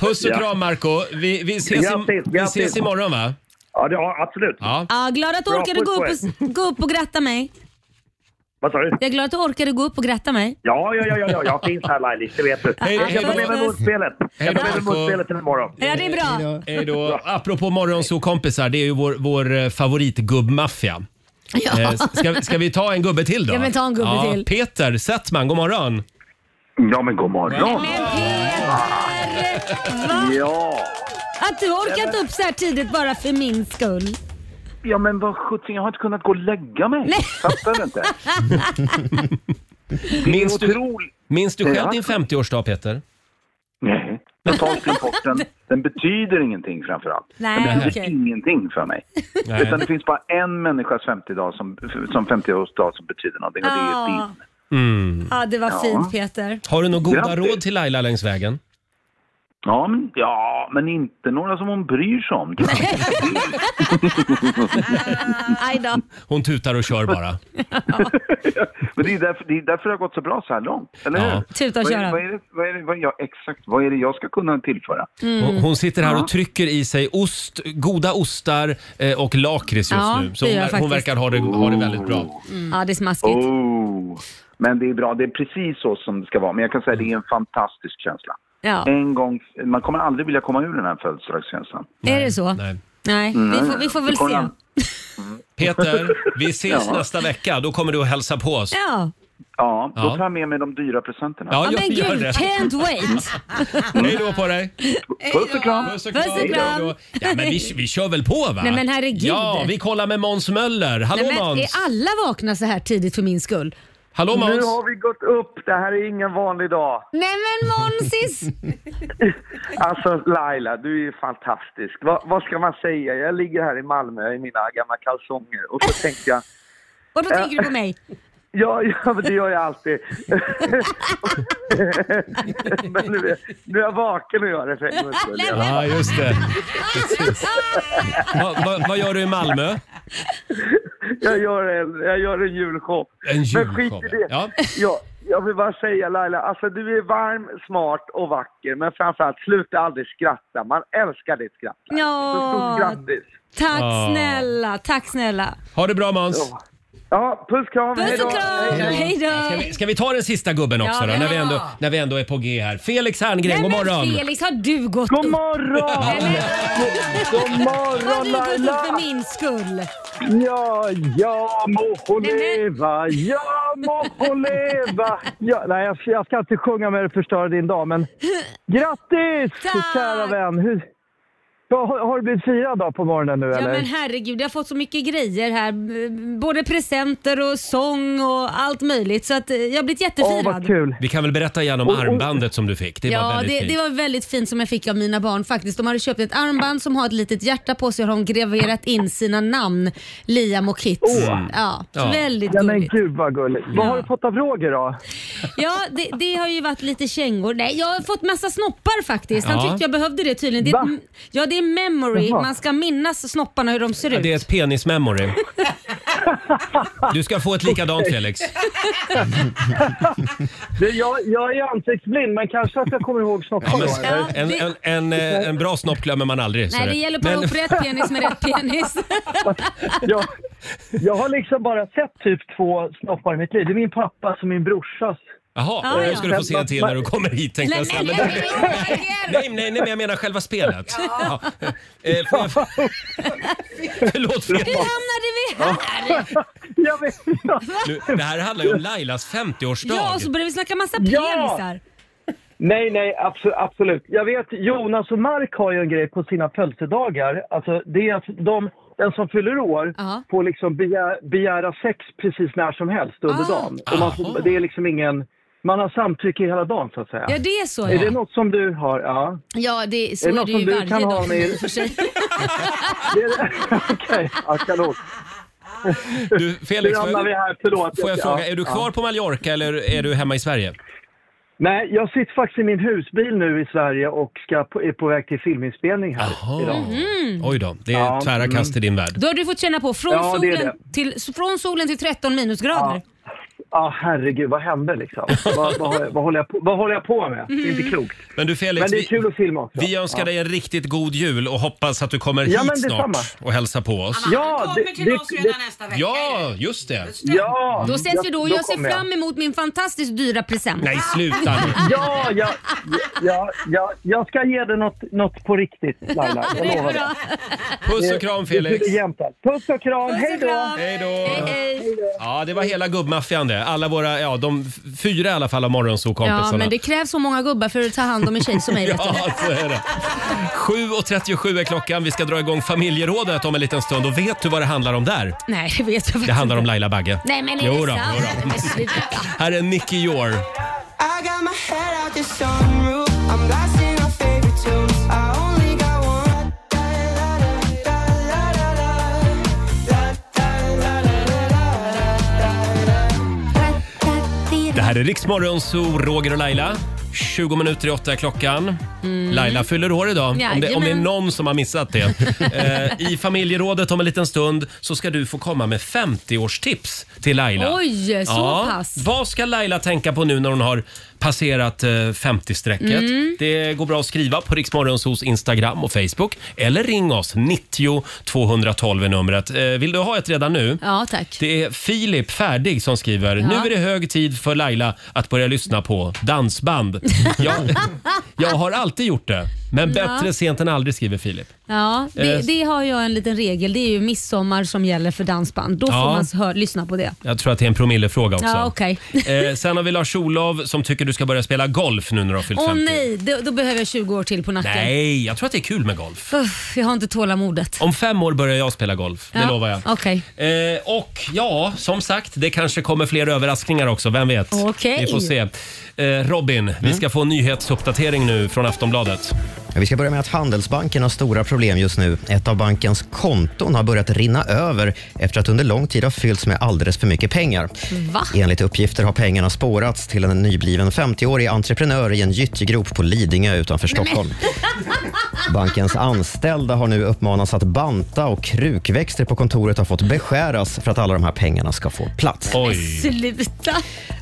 Speaker 1: Puss och
Speaker 14: Ja.
Speaker 1: kram Marco Vi, vi, ses,
Speaker 14: Grattis,
Speaker 1: i, vi
Speaker 14: grattis.
Speaker 1: ses imorgon va?
Speaker 14: Ja, det, ja absolut.
Speaker 1: Ja.
Speaker 2: Ja, glad att du
Speaker 14: Bra,
Speaker 2: orkade gå upp,
Speaker 14: puss
Speaker 2: och, gå upp och gratta mig.
Speaker 14: Vad sa du?
Speaker 2: Jag är glad att du orkade gå upp och gratta mig.
Speaker 14: Ja, ja, ja, ja, ja, jag finns här Lailis, det vet du.
Speaker 2: Hej-
Speaker 14: jag
Speaker 2: hej
Speaker 14: ska
Speaker 2: då.
Speaker 14: ta med mig mundspelet.
Speaker 1: Hej
Speaker 14: Jag
Speaker 1: då,
Speaker 14: tar med mig
Speaker 1: Marco.
Speaker 14: mundspelet till imorgon.
Speaker 2: Ja, det är bra.
Speaker 1: Hej då. Apropå morgonsokompisar, det är ju vår, vår eh, favoritgubbmaffia.
Speaker 2: Ja.
Speaker 1: Eh, Ska, ska vi ta en gubbe till då?
Speaker 2: Ja, men ta en gubbe till.
Speaker 1: Peter Settman, god morgon.
Speaker 14: Ja men god morgon. Ja.
Speaker 2: Att du orkat upp så här tidigt bara för min skull.
Speaker 14: Ja men vad sjutton, jag har inte kunnat gå och lägga mig. Fattar du inte?
Speaker 1: Minns du,
Speaker 14: otroligt.
Speaker 1: minns du själv
Speaker 14: Ja.
Speaker 1: din 50-årsdag Peter?
Speaker 14: Nej. Potatsimporten, den betyder ingenting framför allt.
Speaker 2: Nej,
Speaker 14: den betyder
Speaker 2: okej.
Speaker 14: ingenting för mig.
Speaker 1: Nej.
Speaker 14: Utan det finns bara en människas 50-dag som, som 50-årsdag som betyder någonting och det är din.
Speaker 2: Ja, ja Ah. Mm. det var
Speaker 14: Ja.
Speaker 2: fint Peter.
Speaker 1: Har du några goda
Speaker 14: Grattis.
Speaker 1: råd till Laila längs vägen?
Speaker 14: Ja men, ja, men inte några som hon bryr sig om.
Speaker 2: Aj då.
Speaker 1: Hon tutar och kör bara.
Speaker 14: men det är, därför, det är därför det har gått så bra så här långt, eller
Speaker 1: Ja.
Speaker 14: hur?
Speaker 2: Tuta och
Speaker 14: Vad är-
Speaker 2: köra.
Speaker 14: Vad är det, vad är det, vad, ja, exakt, vad är det jag ska kunna tillföra?
Speaker 2: Mm.
Speaker 1: Hon, hon sitter här
Speaker 14: Ja.
Speaker 1: och trycker i sig ost, goda ostar eh, och lakrits just
Speaker 2: Ja,
Speaker 1: nu. Så
Speaker 2: det
Speaker 1: hon,
Speaker 2: gör jag
Speaker 1: ver- hon
Speaker 2: faktiskt.
Speaker 1: verkar ha det, ha det väldigt bra.
Speaker 2: Ja, det är smaskigt.
Speaker 14: Oh. Men det är bra, det är precis så som det ska vara. Men jag kan säga det är en fantastisk känsla.
Speaker 2: Ja.
Speaker 14: En gång, man kommer aldrig vilja komma ur den här födelsedagskänslan.
Speaker 2: Är det så?
Speaker 1: Nej,
Speaker 2: Nej. Vi,
Speaker 14: Nej.
Speaker 2: får, vi får väl
Speaker 14: Det kommer
Speaker 2: se.
Speaker 14: an.
Speaker 1: Peter, vi ses
Speaker 14: Ja.
Speaker 1: nästa vecka. Då kommer du och hälsa på oss.
Speaker 2: Ja.
Speaker 14: Ja, då
Speaker 1: Ja.
Speaker 14: tar jag med mig de dyra presenterna.
Speaker 1: Ja,
Speaker 2: Ja,
Speaker 1: jag
Speaker 2: men
Speaker 1: gör
Speaker 2: gud,
Speaker 1: det.
Speaker 2: can't wait.
Speaker 1: Hej då på dig!
Speaker 14: Puss och kram!
Speaker 1: Puss och
Speaker 2: Puss och kram.
Speaker 1: Hej då. Ja, men vi, vi kör väl på va?
Speaker 2: Nej, men herregud.
Speaker 1: Ja, vi kollar med Måns Möller. Hallå
Speaker 2: Nej, men, är
Speaker 1: Måns!
Speaker 2: alla vakna så här tidigt för min skull?
Speaker 1: Hallå
Speaker 14: Nu
Speaker 1: Måns!
Speaker 14: har vi gått upp, det här är ingen vanlig dag.
Speaker 2: Nej men Månsis!
Speaker 14: Alltså Laila, du är ju fantastisk. Va, vad ska man säga? Jag ligger här i Malmö i mina gamla kalsonger och så tänkte jag,
Speaker 2: Och då tänker du på mig.
Speaker 15: Ja, ja men det gör jag alltid. men nu, är- nu är jag vaken och gör det för en gångs skull.
Speaker 1: Ja, just det. Precis. Va, va, vad gör du i Malmö?
Speaker 15: Jag gör en, jag gör en julshow.
Speaker 1: En
Speaker 15: Men
Speaker 1: julshow,
Speaker 15: skit i det.
Speaker 1: Ja.
Speaker 15: Ja, jag vill bara säga Laila, alltså du är varm, smart och vacker. Men framförallt, sluta aldrig skratta. Man älskar ditt skratt. Så stort
Speaker 2: Ja,
Speaker 15: grattis!
Speaker 2: tack
Speaker 15: Ja.
Speaker 2: snälla, tack snälla.
Speaker 1: Ha det bra Måns!
Speaker 15: Ja, puss kram,
Speaker 2: Puss och kram, hej
Speaker 1: Ska
Speaker 2: då.
Speaker 1: vi, ska vi ta den sista gubben också
Speaker 2: Ja,
Speaker 1: då,
Speaker 2: ja.
Speaker 1: när vi, ändå, när vi ändå är på G här? Felix Herngren,
Speaker 2: Nej,
Speaker 1: god
Speaker 2: men
Speaker 1: morgon!
Speaker 2: Felix, har du gått
Speaker 15: God
Speaker 2: upp?
Speaker 15: morgon! God
Speaker 2: Har du
Speaker 15: morgon
Speaker 2: gått upp för
Speaker 15: Laila!
Speaker 2: min skull?
Speaker 15: Ja, ja må hon leva, ja må hon leva. Ja, nej, jag, jag ska inte sjunga med och förstöra din dag, men grattis kära vän. Hur, ja, har, har du blivit firad då på morgonen nu
Speaker 2: Ja
Speaker 15: eller?
Speaker 2: men herregud, jag har fått så mycket grejer här. B- Både presenter och sång och allt möjligt. Så att eh, jag har blivit jättefirad.
Speaker 1: Vi kan väl berätta igen om armbandet som du fick? Det var
Speaker 2: ja,
Speaker 1: väldigt
Speaker 2: det,
Speaker 1: fint.
Speaker 2: det var väldigt fint som jag fick av mina barn faktiskt. De hade köpt ett armband som har ett litet hjärta på sig och de graverat in sina namn, Liam och Kit.
Speaker 15: Åh.
Speaker 2: Ja, så väldigt
Speaker 15: ja, men
Speaker 2: gulligt.
Speaker 15: gud vad gulligt. Vad har du fått av Roger då?
Speaker 2: Ja, det, det har ju varit lite kängor. Nej, jag har fått massa snoppar faktiskt. Han
Speaker 1: Ja.
Speaker 2: tyckte jag behövde det tydligen. Det, är ett- ja, det är memory.
Speaker 1: Jaha.
Speaker 2: Man ska minnas snopparna hur de ser
Speaker 1: Ja,
Speaker 2: ut.
Speaker 1: det är ett penismemory. Du ska få ett likadant
Speaker 15: Okej.
Speaker 1: Felix.
Speaker 15: Du, jag, jag är ansiktsblind, men kanske att jag kommer ihåg
Speaker 1: Ja,
Speaker 15: snopparna.
Speaker 1: men,
Speaker 15: eller?
Speaker 1: en, en, en, eh, en bra snopp glömmer man aldrig. så
Speaker 2: Nej,
Speaker 1: är
Speaker 2: det gäller att para
Speaker 1: Men-
Speaker 2: ihop rätt penis med rätt penis.
Speaker 15: jag, jag har liksom bara sett typ två snoppar i mitt liv. Det är min pappas och min brorsas.
Speaker 1: Jaha,
Speaker 15: Ja,
Speaker 1: nu
Speaker 15: ja.
Speaker 1: ska du få se en till när du kommer hit tänkte jag säga. Men- Nej, nej, nej, men jag menar själva spelet. Ja. Eh, får jag... Förlåt
Speaker 2: Hur
Speaker 1: Felix.
Speaker 2: hamnade vi här?
Speaker 1: Nu, det här handlar ju om Lailas 50-årsdag.
Speaker 2: Ja, och så började vi snacka massa penisar.
Speaker 15: Nej, nej, abso- absolut. Jag vet, Jonas och Mark har ju en grej på sina födelsedagar. Alltså, det är att de, den som fyller år får liksom begä, begära sex precis när som helst under
Speaker 2: Ah.
Speaker 15: dagen. Och man får, det är liksom ingen... Man har samtycke hela dagen, så att säga.
Speaker 2: Ja, det är så.
Speaker 15: Är det
Speaker 2: Ja,
Speaker 15: något som du har? Ja.
Speaker 2: ja det, så
Speaker 15: Är
Speaker 2: är,
Speaker 15: det något
Speaker 2: det
Speaker 15: som
Speaker 2: ju
Speaker 15: du
Speaker 2: varje
Speaker 15: kan ha
Speaker 2: dag.
Speaker 15: med er?
Speaker 2: i och för sig.
Speaker 15: Det är det- Okej, ja, kanon.
Speaker 1: Du, Felix,
Speaker 15: Nu
Speaker 1: får
Speaker 15: hamnar
Speaker 1: jag,
Speaker 15: vi här. Förlåt.
Speaker 1: får jag
Speaker 15: Ja,
Speaker 1: fråga, är du
Speaker 15: ja.
Speaker 1: kvar på Mallorca eller är du hemma i Sverige?
Speaker 15: Nej, jag sitter faktiskt i min husbil nu i Sverige och ska på, är på väg till filminspelning här idag.
Speaker 2: Mhm.
Speaker 1: Mm-hmm. Oj då, det är
Speaker 15: Ja,
Speaker 1: tvära kast
Speaker 15: mm.
Speaker 1: i din värld.
Speaker 2: Då har du fått känna på från,
Speaker 15: Ja, det är
Speaker 2: solen,
Speaker 15: det.
Speaker 2: Till, från solen till 13 minusgrader.
Speaker 15: Ja, herregud, vad hände liksom? vad, vad, har jag- vad, håller jag på, vad håller jag på med? Det är
Speaker 2: Mm.
Speaker 15: inte klokt.
Speaker 1: Men du Felix,
Speaker 15: Men det är
Speaker 1: vi-
Speaker 15: kul att filma också.
Speaker 1: Vi önskar
Speaker 15: Ja.
Speaker 1: dig en riktigt god jul och hoppas att du kommer hit
Speaker 15: Ja, men
Speaker 1: snart
Speaker 15: detsamma.
Speaker 1: och hälsar på oss.
Speaker 15: Ja, det, det, det,
Speaker 1: Ja, just det.
Speaker 15: ja,
Speaker 2: Då ses vi då. Jag ser
Speaker 15: kommer
Speaker 2: fram emot min fantastiskt dyra present.
Speaker 1: Nej, sluta nu.
Speaker 15: Ja, jag, jag, jag, jag ska ge dig något, något på riktigt, Laila.
Speaker 2: Ja, det
Speaker 15: Jag
Speaker 2: är
Speaker 15: lovar.
Speaker 2: bra.
Speaker 1: Puss och kram Felix.
Speaker 15: Det är jämnt här. Puss och kram, hej då!
Speaker 1: Hej då.
Speaker 2: Hej.
Speaker 1: Ja, det var hela gubbmaffian det. Alla våra, ja de f- fyra i alla fall av
Speaker 2: Ja,
Speaker 1: morgonsokompisarna.
Speaker 2: men det krävs så många gubbar för att ta hand om en tjej som mig. vet du.
Speaker 1: Ja, så är det. 7.37 är klockan. Vi ska dra igång familjerådet om en liten stund. Och vet du vad det handlar om där?
Speaker 2: Nej, det vet jag faktiskt
Speaker 1: Det handlar om
Speaker 2: inte.
Speaker 1: Laila Bagge.
Speaker 2: Nej, men är
Speaker 1: Jo
Speaker 2: det
Speaker 1: då,
Speaker 2: sant?
Speaker 1: jo då.
Speaker 2: Men sluta.
Speaker 1: Här är Nicky Jor.
Speaker 7: I got my head out the sunroof. I'm blasting my favorite tunes. I only got one.
Speaker 1: Det här är Riksmorgon Zoo, Roger och Laila. 20 minuter i åtta är klockan.
Speaker 2: Mm.
Speaker 1: Laila fyller år idag, om det, om det är
Speaker 2: Jajamän.
Speaker 1: någon som har missat det. eh, I familjerådet om en liten stund så ska du få komma med 50-årstips till Laila.
Speaker 2: Oj, så pass.
Speaker 1: Vad ska Laila tänka på nu när hon har passerat eh, 50-strecket?
Speaker 2: Mm.
Speaker 1: Det går bra att skriva på Riksmorgonsos Instagram och Facebook. Eller ring oss, 90 212 är numret. Eh, vill du ha ett redan nu?
Speaker 2: Ja, tack.
Speaker 1: Det är Filip Färdig som skriver.
Speaker 2: Ja.
Speaker 1: Nu är det hög tid för Laila att börja lyssna på dansband. Jag, jag har alltid gjort det, men
Speaker 2: Ja.
Speaker 1: bättre sent än aldrig skriver Filip.
Speaker 2: Ja, det,
Speaker 1: Eh,
Speaker 2: det har jag en liten regel. Det är ju midsommar som gäller för dansband. Då får
Speaker 1: Ja.
Speaker 2: man hör, lyssna på det.
Speaker 1: Jag tror att det är en promillefråga också.
Speaker 2: Ja, okej.
Speaker 1: eh, sen har vi Lars-Olov som tycker du ska börja spela golf nu när du har fyllt
Speaker 2: Åh
Speaker 1: 50.
Speaker 2: nej, då, då behöver jag 20 år till på nacken.
Speaker 1: Nej, jag tror att det är kul med golf.
Speaker 2: Uff, jag har inte tålamodet.
Speaker 1: Om fem år börjar jag spela golf, det
Speaker 2: Ja,
Speaker 1: lovar jag.
Speaker 2: Okej.
Speaker 1: Eh, och ja, som sagt, det kanske kommer fler överraskningar också. Vem vet?
Speaker 2: Okej.
Speaker 1: Vi får se. Eh, Robin, vi ska få en nyhetsuppdatering nu från Aftonbladet.
Speaker 9: Vi ska börja med att Handelsbanken har stora problem just nu. Ett av bankens konton har börjat rinna över efter att under lång tid ha fyllts med alldeles för mycket pengar.
Speaker 8: Va?
Speaker 9: Enligt uppgifter har pengarna spårats till en nybliven 50-årig entreprenör i en gyttjegrop på Lidingö utanför Stockholm. Bankens anställda har nu uppmanats att banta och krukväxter på kontoret har fått beskäras för att alla de här pengarna ska få plats.
Speaker 8: Sluta.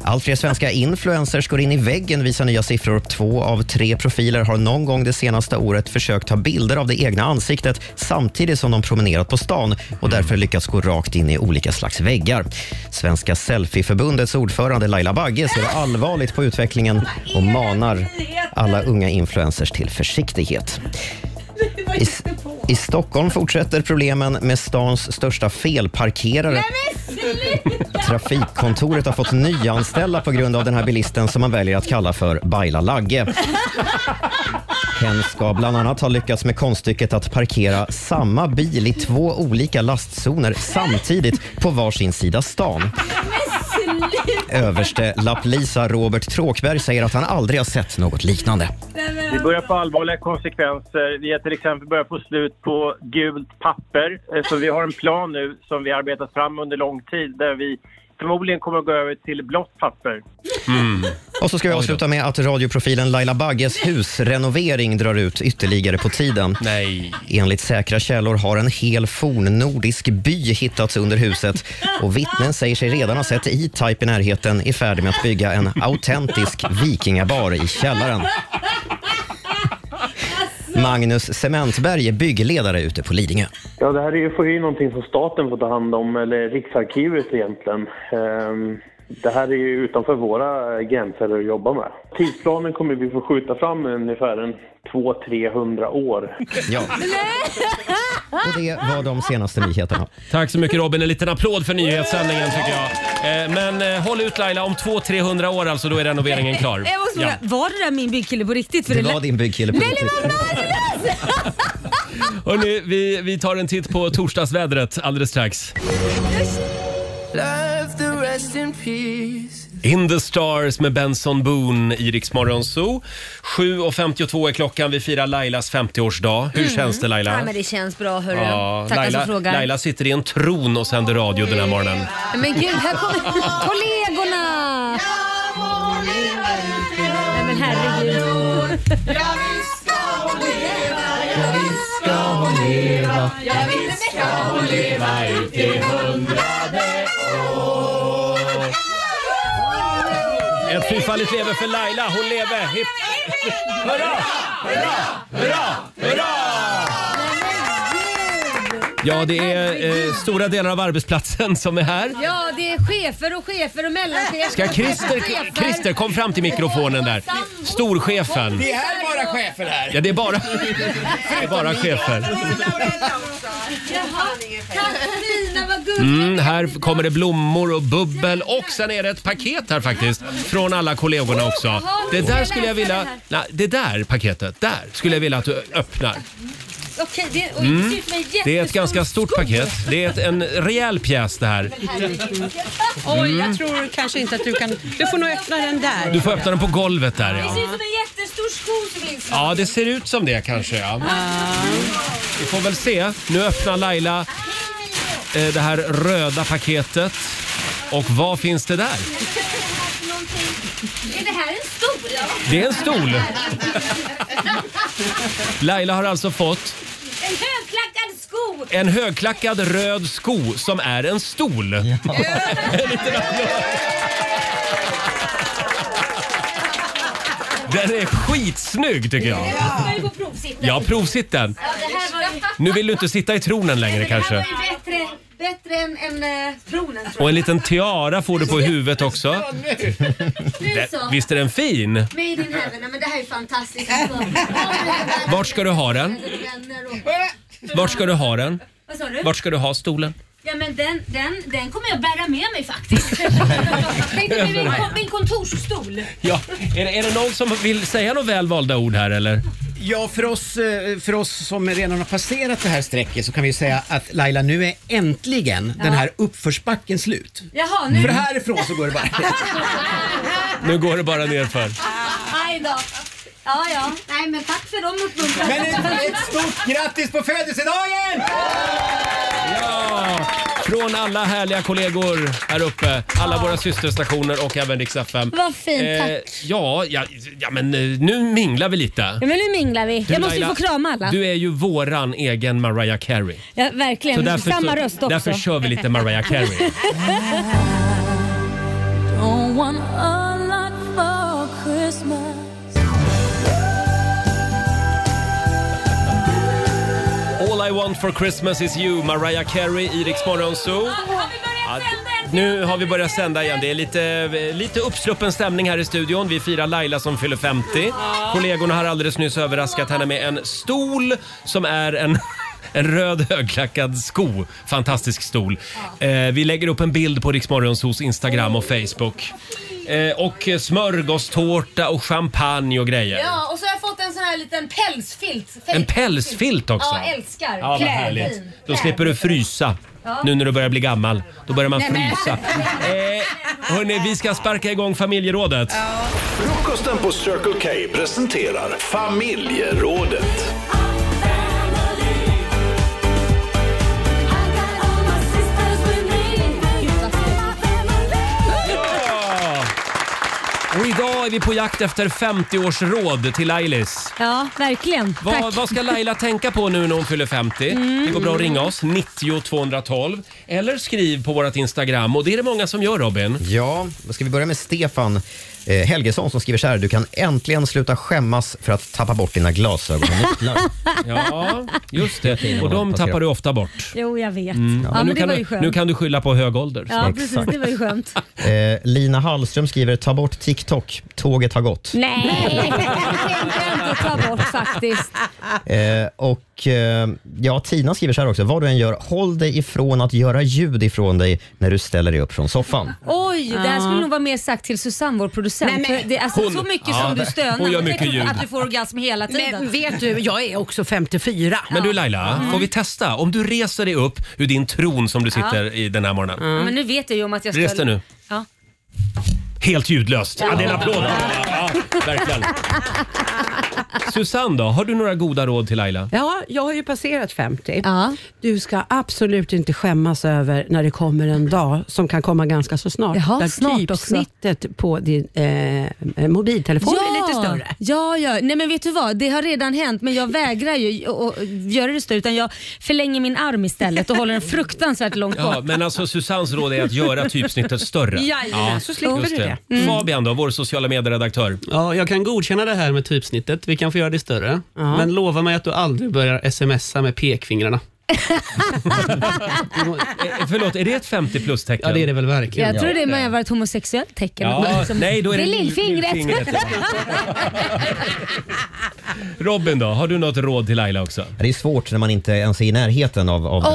Speaker 9: Allt fler svenska influencers går in i väggen visar nya siffror. Två av tre profiler har någon gång det senaste året försökt ta bilder av det egna ansiktet samtidigt som de promenerat på stan och därför lyckats gå rakt in i olika slags väggar. Svenska Selfieförbundets ordförande Laila Bagge ser allvarligt på utvecklingen och manar alla unga influencers till försiktighet. I, I Stockholm fortsätter problemen med stans största felparkerare. Trafikkontoret har fått nyanställa på grund av den här bilisten som man väljer att kalla för Baila Lagge. Hen ska bland annat ha lyckats med konststycket att parkera samma bil i två olika lastzoner samtidigt på varsin sida stan. Överste lapplisa Robert Tråkberg säger att han aldrig har sett något liknande.
Speaker 16: Vi börjar få allvarliga konsekvenser. Vi har till exempel börjat få slut på gult papper. Eh, Så vi har en plan nu som vi arbetat fram under lång tid där vi förmodligen kommer att gå över till blått papper.
Speaker 9: Och så ska vi
Speaker 16: Oj då.
Speaker 9: avsluta med att radioprofilen Laila Bagges husrenovering drar ut ytterligare på tiden. Nej. Enligt säkra källor har en hel fornnordisk by hittats under huset och vittnen säger sig redan ha sett E-Type i närheten i färd med att bygga en autentisk vikingabar i källaren. Magnus Cementberg är byggledare ute på Lidingö.
Speaker 17: Ja, det här är ju, får ju någonting som staten får ta hand om, eller Riksarkivet egentligen. Ehm, Det här är ju utanför våra gränser att jobba med. Tidsplanen kommer vi få skjuta fram ungefär en 200-300 år.
Speaker 9: Ja. Och det var de senaste nyheterna.
Speaker 1: Tack så mycket Robin. En liten applåd för nyhetssändningen tycker jag. Eh, Men eh, håll ut Laila, om 200-300 år alltså, då är renoveringen klar.
Speaker 2: Jag måste fråga, var det där min byggkille på riktigt?
Speaker 1: Det var din byggkille på
Speaker 2: Nej,
Speaker 1: riktigt.
Speaker 2: det var Magnus!
Speaker 1: Hörrni, vi, vi tar en titt på torsdagsvädret alldeles strax.
Speaker 7: Love the rest in peace.
Speaker 1: In the Stars med Benson Boone i Rix Morgon Zoo. 7.52 är klockan. Vi firar Lailas 50-årsdag. Hur känns det Laila?
Speaker 2: Mm. Ja, men det känns bra hörru.
Speaker 1: Ja,
Speaker 2: Tackar
Speaker 1: Laila,
Speaker 2: som frågar.
Speaker 1: Laila sitter i en tron och sänder radio den här morgonen.
Speaker 2: Men gud, här kommer kollegorna! Nej men herregud.
Speaker 7: Ska hon leva, ja visst ska hon leva ut i hundrade år.
Speaker 1: Ett fyrfaldigt leve för Laila. Hon leve! Hipp. Hurra! Hurra! Hurra! Ja, det är eh, stora delar av arbetsplatsen som är här.
Speaker 2: Ja, det är chefer och chefer och mellanchefer.
Speaker 1: Ska Christer,
Speaker 2: Chefer.
Speaker 1: Christer, kom fram till mikrofonen där. Storchefen.
Speaker 18: Det är bara chefer här.
Speaker 1: Ja, det är bara, det är bara chefer.
Speaker 2: Jaha, Katarina vad gulligt.
Speaker 1: Mm, här kommer det blommor och bubbel och sen är det ett paket här faktiskt från alla kollegorna också. Det där skulle jag vilja... Nej, det där paketet, där skulle jag vilja att du öppnar.
Speaker 2: Okej, det, oj, det
Speaker 1: Mm.
Speaker 2: ser ut som en
Speaker 1: Det är ett
Speaker 2: jättestor
Speaker 1: ganska stort
Speaker 2: skog.
Speaker 1: paket. Det är ett, en rejäl pjäs det här.
Speaker 18: Oj,
Speaker 1: Mm.
Speaker 18: jag tror kanske inte att du kan... Du får nog öppna den där.
Speaker 1: Du får öppna den på golvet där
Speaker 18: Det
Speaker 1: ja.
Speaker 18: ser ut
Speaker 2: Som en jättestor skog som finns.
Speaker 1: Ja, det ser ut som det kanske ja. Vi får väl se. Nu öppnar Laila eh, det här röda paketet. Och vad finns det där?
Speaker 2: Är det här en stol?
Speaker 1: Det är en stol. Laila har alltså fått
Speaker 2: En högklackad sko!
Speaker 1: en högklackad röd sko som är en stol. En liten applåd. Den är skitsnygg tycker jag.
Speaker 2: Jag ska ju på provsittning.
Speaker 1: Ja, provsitt den.
Speaker 2: Ja, det här var ju...
Speaker 1: Nu vill du inte sitta i tronen längre kanske.
Speaker 2: Bättre, bättre än, än eh, tronen tror
Speaker 1: Och en
Speaker 2: jag.
Speaker 1: liten tiara får du på huvudet också. Den, visst är den fin?
Speaker 2: Made in heaven, Ja, men det här är fantastiskt. Alltså, ja, det här är
Speaker 1: Vart ska du ha den?
Speaker 2: vänner och-
Speaker 1: Vart ska du ha den?
Speaker 2: Vad sa du?
Speaker 1: Vart ska du ha stolen?
Speaker 2: Ja men den, den, den kommer jag bära med mig faktiskt. Tänkte min, min, min kontorsstol.
Speaker 1: Ja, är det, är det någon som vill säga några välvalda ord här eller?
Speaker 18: Ja,
Speaker 1: för oss,
Speaker 18: för oss som redan har passerat det här strecket
Speaker 1: så
Speaker 18: kan vi ju säga att Laila, nu är äntligen
Speaker 2: den
Speaker 18: här uppförsbacken slut.
Speaker 2: Jaha nu.
Speaker 18: För härifrån så går det bara
Speaker 1: Nu går det bara nerför.
Speaker 2: Aj då. Ja, ja. Nej, men tack för de uppmuntran.
Speaker 5: Men ett- ett
Speaker 19: stort grattis på födelsedagen!
Speaker 1: Ja! Från alla härliga kollegor här uppe, alla våra systerstationer och även Rix FM.
Speaker 2: Vad fint,
Speaker 1: tack. Ja, ja, ja, men eh, nu minglar vi lite.
Speaker 2: Ja, men nu minglar vi.
Speaker 1: Du,
Speaker 2: jag måste ju
Speaker 1: Laila,
Speaker 2: få krama alla.
Speaker 1: Du är ju våran egen Mariah Carey.
Speaker 2: Ja, verkligen. Samma
Speaker 1: så,
Speaker 2: röst också.
Speaker 1: Därför kör vi lite Mariah Carey.
Speaker 5: Don't want a lot for Christmas.
Speaker 1: All I want for Christmas is you, Mariah Carey i Rix Morgon Zoo. Ja, Nu har vi börjat sända igen. Det är lite, lite uppsluppen stämning här i studion. Vi firar Laila som fyller 50. Kollegorna har alldeles nyss överraskat henne med en stol som är en, en röd högklackad sko. Fantastisk stol. Eh, vi lägger upp en bild på Rix Morgon Zoos Instagram och Facebook. Eh, och smörgåstårta och champagne och grejer.
Speaker 2: Ja, och så har jag fått en sån här liten pälsfilt.
Speaker 1: En pälsfilt också.
Speaker 2: Ja, älskar.
Speaker 1: Ja, vad
Speaker 2: Klä-
Speaker 1: härligt.
Speaker 2: fin.
Speaker 1: Då slipper du frysa.
Speaker 2: Ja.
Speaker 1: Nu när du börjar bli gammal. Då börjar man
Speaker 2: Nej, men-
Speaker 1: frysa. Eh, hörni, vi ska sparka igång familjerådet.
Speaker 4: Frukosten på Circle K presenterar Familjerådet.
Speaker 1: Och idag är vi på jakt efter 50-årsråd till Lailis.
Speaker 2: Ja, verkligen.
Speaker 1: Vad,
Speaker 2: Tack.
Speaker 1: vad ska Laila tänka på nu när hon fyller 50?
Speaker 2: Mm.
Speaker 1: Det går bra att ringa oss, 90 212. Eller skriv på vårt Instagram och det är det många som gör Robin.
Speaker 9: Ja, då ska vi börja med Stefan eh, Helgesson som skriver så här. Du kan äntligen sluta skämmas för att tappa bort dina glasögon och nycklar.
Speaker 1: Ja, just det. Och de tappar du ofta bort.
Speaker 2: Jo, jag vet.
Speaker 1: Mm.
Speaker 2: Ja,
Speaker 1: Och
Speaker 2: men
Speaker 1: nu,
Speaker 2: det
Speaker 1: kan
Speaker 2: var ju
Speaker 1: du,
Speaker 2: skönt.
Speaker 1: nu kan du skylla på hög ålder.
Speaker 2: Ja, precis. Det var ju skönt.
Speaker 9: Eh, Lina Hallström skriver ta bort TikTok, tåget har gått.
Speaker 2: Nej, det tänker jag inte ta bort faktiskt.
Speaker 9: Eh, och eh, ja, Tina skriver så här också. Vad du än gör, håll dig ifrån att göra ljud ifrån dig när du ställer dig upp från soffan.
Speaker 2: Oj, det här skulle nog vara mer sagt till Susanne, vår producent. För det, alltså,
Speaker 9: Hon-
Speaker 2: så mycket
Speaker 9: ja,
Speaker 2: som du
Speaker 9: det-
Speaker 2: stönar.
Speaker 9: hon gör
Speaker 2: Jag
Speaker 9: mycket
Speaker 2: tror
Speaker 9: ljud.
Speaker 2: Att du får orgasm hela tiden.
Speaker 6: Men vet du, jag är också 54.
Speaker 1: Men du Laila,
Speaker 2: Mm.
Speaker 1: får vi testa? Om du reser dig upp ur din tron som du sitter
Speaker 2: Ja. Mm.
Speaker 1: i den här morgonen.
Speaker 2: Ja, men nu vet jag ju om att jag
Speaker 1: Res dig nu.
Speaker 2: Ja.
Speaker 1: Helt ljudlöst. Ja.
Speaker 2: Ja.
Speaker 1: det är en applåd. Ja, verkligen. Susanne då, har du några goda råd till Laila?
Speaker 6: Ja, jag har ju passerat 50. Du ska absolut inte skämmas över när det kommer en dag som kan komma ganska så snart.
Speaker 2: Jaha,
Speaker 6: där
Speaker 2: snart också.
Speaker 6: typsnittet på din eh, mobiltelefon är lite större.
Speaker 2: Ja, ja. Nej, men vet du vad? Det har redan hänt men jag vägrar ju att göra det större utan jag förlänger min arm istället och håller den fruktansvärt långt bort.
Speaker 1: Ja, men alltså Susannes råd är att göra typsnittet större.
Speaker 2: Jajamän, så slipper
Speaker 1: just
Speaker 2: du det. Mm.
Speaker 1: Fabian då, vår sociala medieredaktör.
Speaker 20: Ja, jag kan godkänna det här med typsnittet. Vi kan få göra det större. Men lova mig att du aldrig börjar smsa med pekfingrarna.
Speaker 1: Förlåt, är det ett 50 plus-tecken?
Speaker 20: Ja, det är det väl verkligen.
Speaker 2: Jag tror det med var ett homosexuellt tecken.
Speaker 1: Ja,
Speaker 2: Men
Speaker 1: nej, då är det
Speaker 2: lillfingret.
Speaker 1: lillfingret, ja. Robin då, har du något råd till Laila också?
Speaker 9: Det är svårt när man inte ens är i närheten av, av den.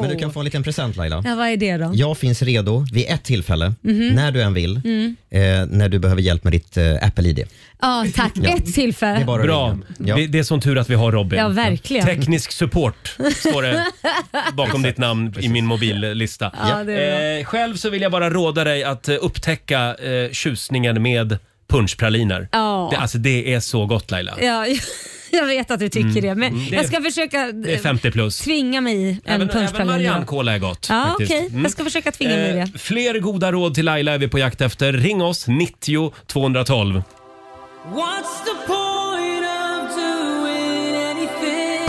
Speaker 9: Men du kan få en liten present Laila.
Speaker 2: ja, vad är det då?
Speaker 9: Jag finns redo vid ett tillfälle,
Speaker 2: Mhm.
Speaker 9: när du än vill,
Speaker 2: Mm.
Speaker 9: eh, när du behöver hjälp med ditt eh, Apple-ID.
Speaker 2: Ja, tack.
Speaker 9: Ja.
Speaker 2: Ett tillfälle.
Speaker 1: Bra. Det, det är som tur att vi har Robin.
Speaker 2: Ja, verkligen.
Speaker 1: Teknisk support står det bakom ditt namn i min mobillista.
Speaker 2: Ja, det är
Speaker 1: eh, själv så vill jag bara råda dig att eh, upptäcka eh, tjusningen med punschpraliner.
Speaker 2: Ja. Eh,
Speaker 1: Det, alltså, det är så gott Laila.
Speaker 2: Ja, jag vet att du tycker
Speaker 1: Mm.
Speaker 2: det, men
Speaker 1: Mm.
Speaker 2: jag ska försöka eh,
Speaker 1: Det är 50 plus.
Speaker 2: tvinga mig i en
Speaker 1: Även, även
Speaker 2: punschpralin.
Speaker 1: Mariannekola är gott.
Speaker 2: Ja,
Speaker 1: faktiskt.
Speaker 2: okej.
Speaker 1: Mm.
Speaker 2: Jag ska försöka tvinga mig i det.
Speaker 1: Eh, Fler goda råd till Laila är vi på jakt efter. Ring oss 90 212.
Speaker 5: What's the point of doing anything?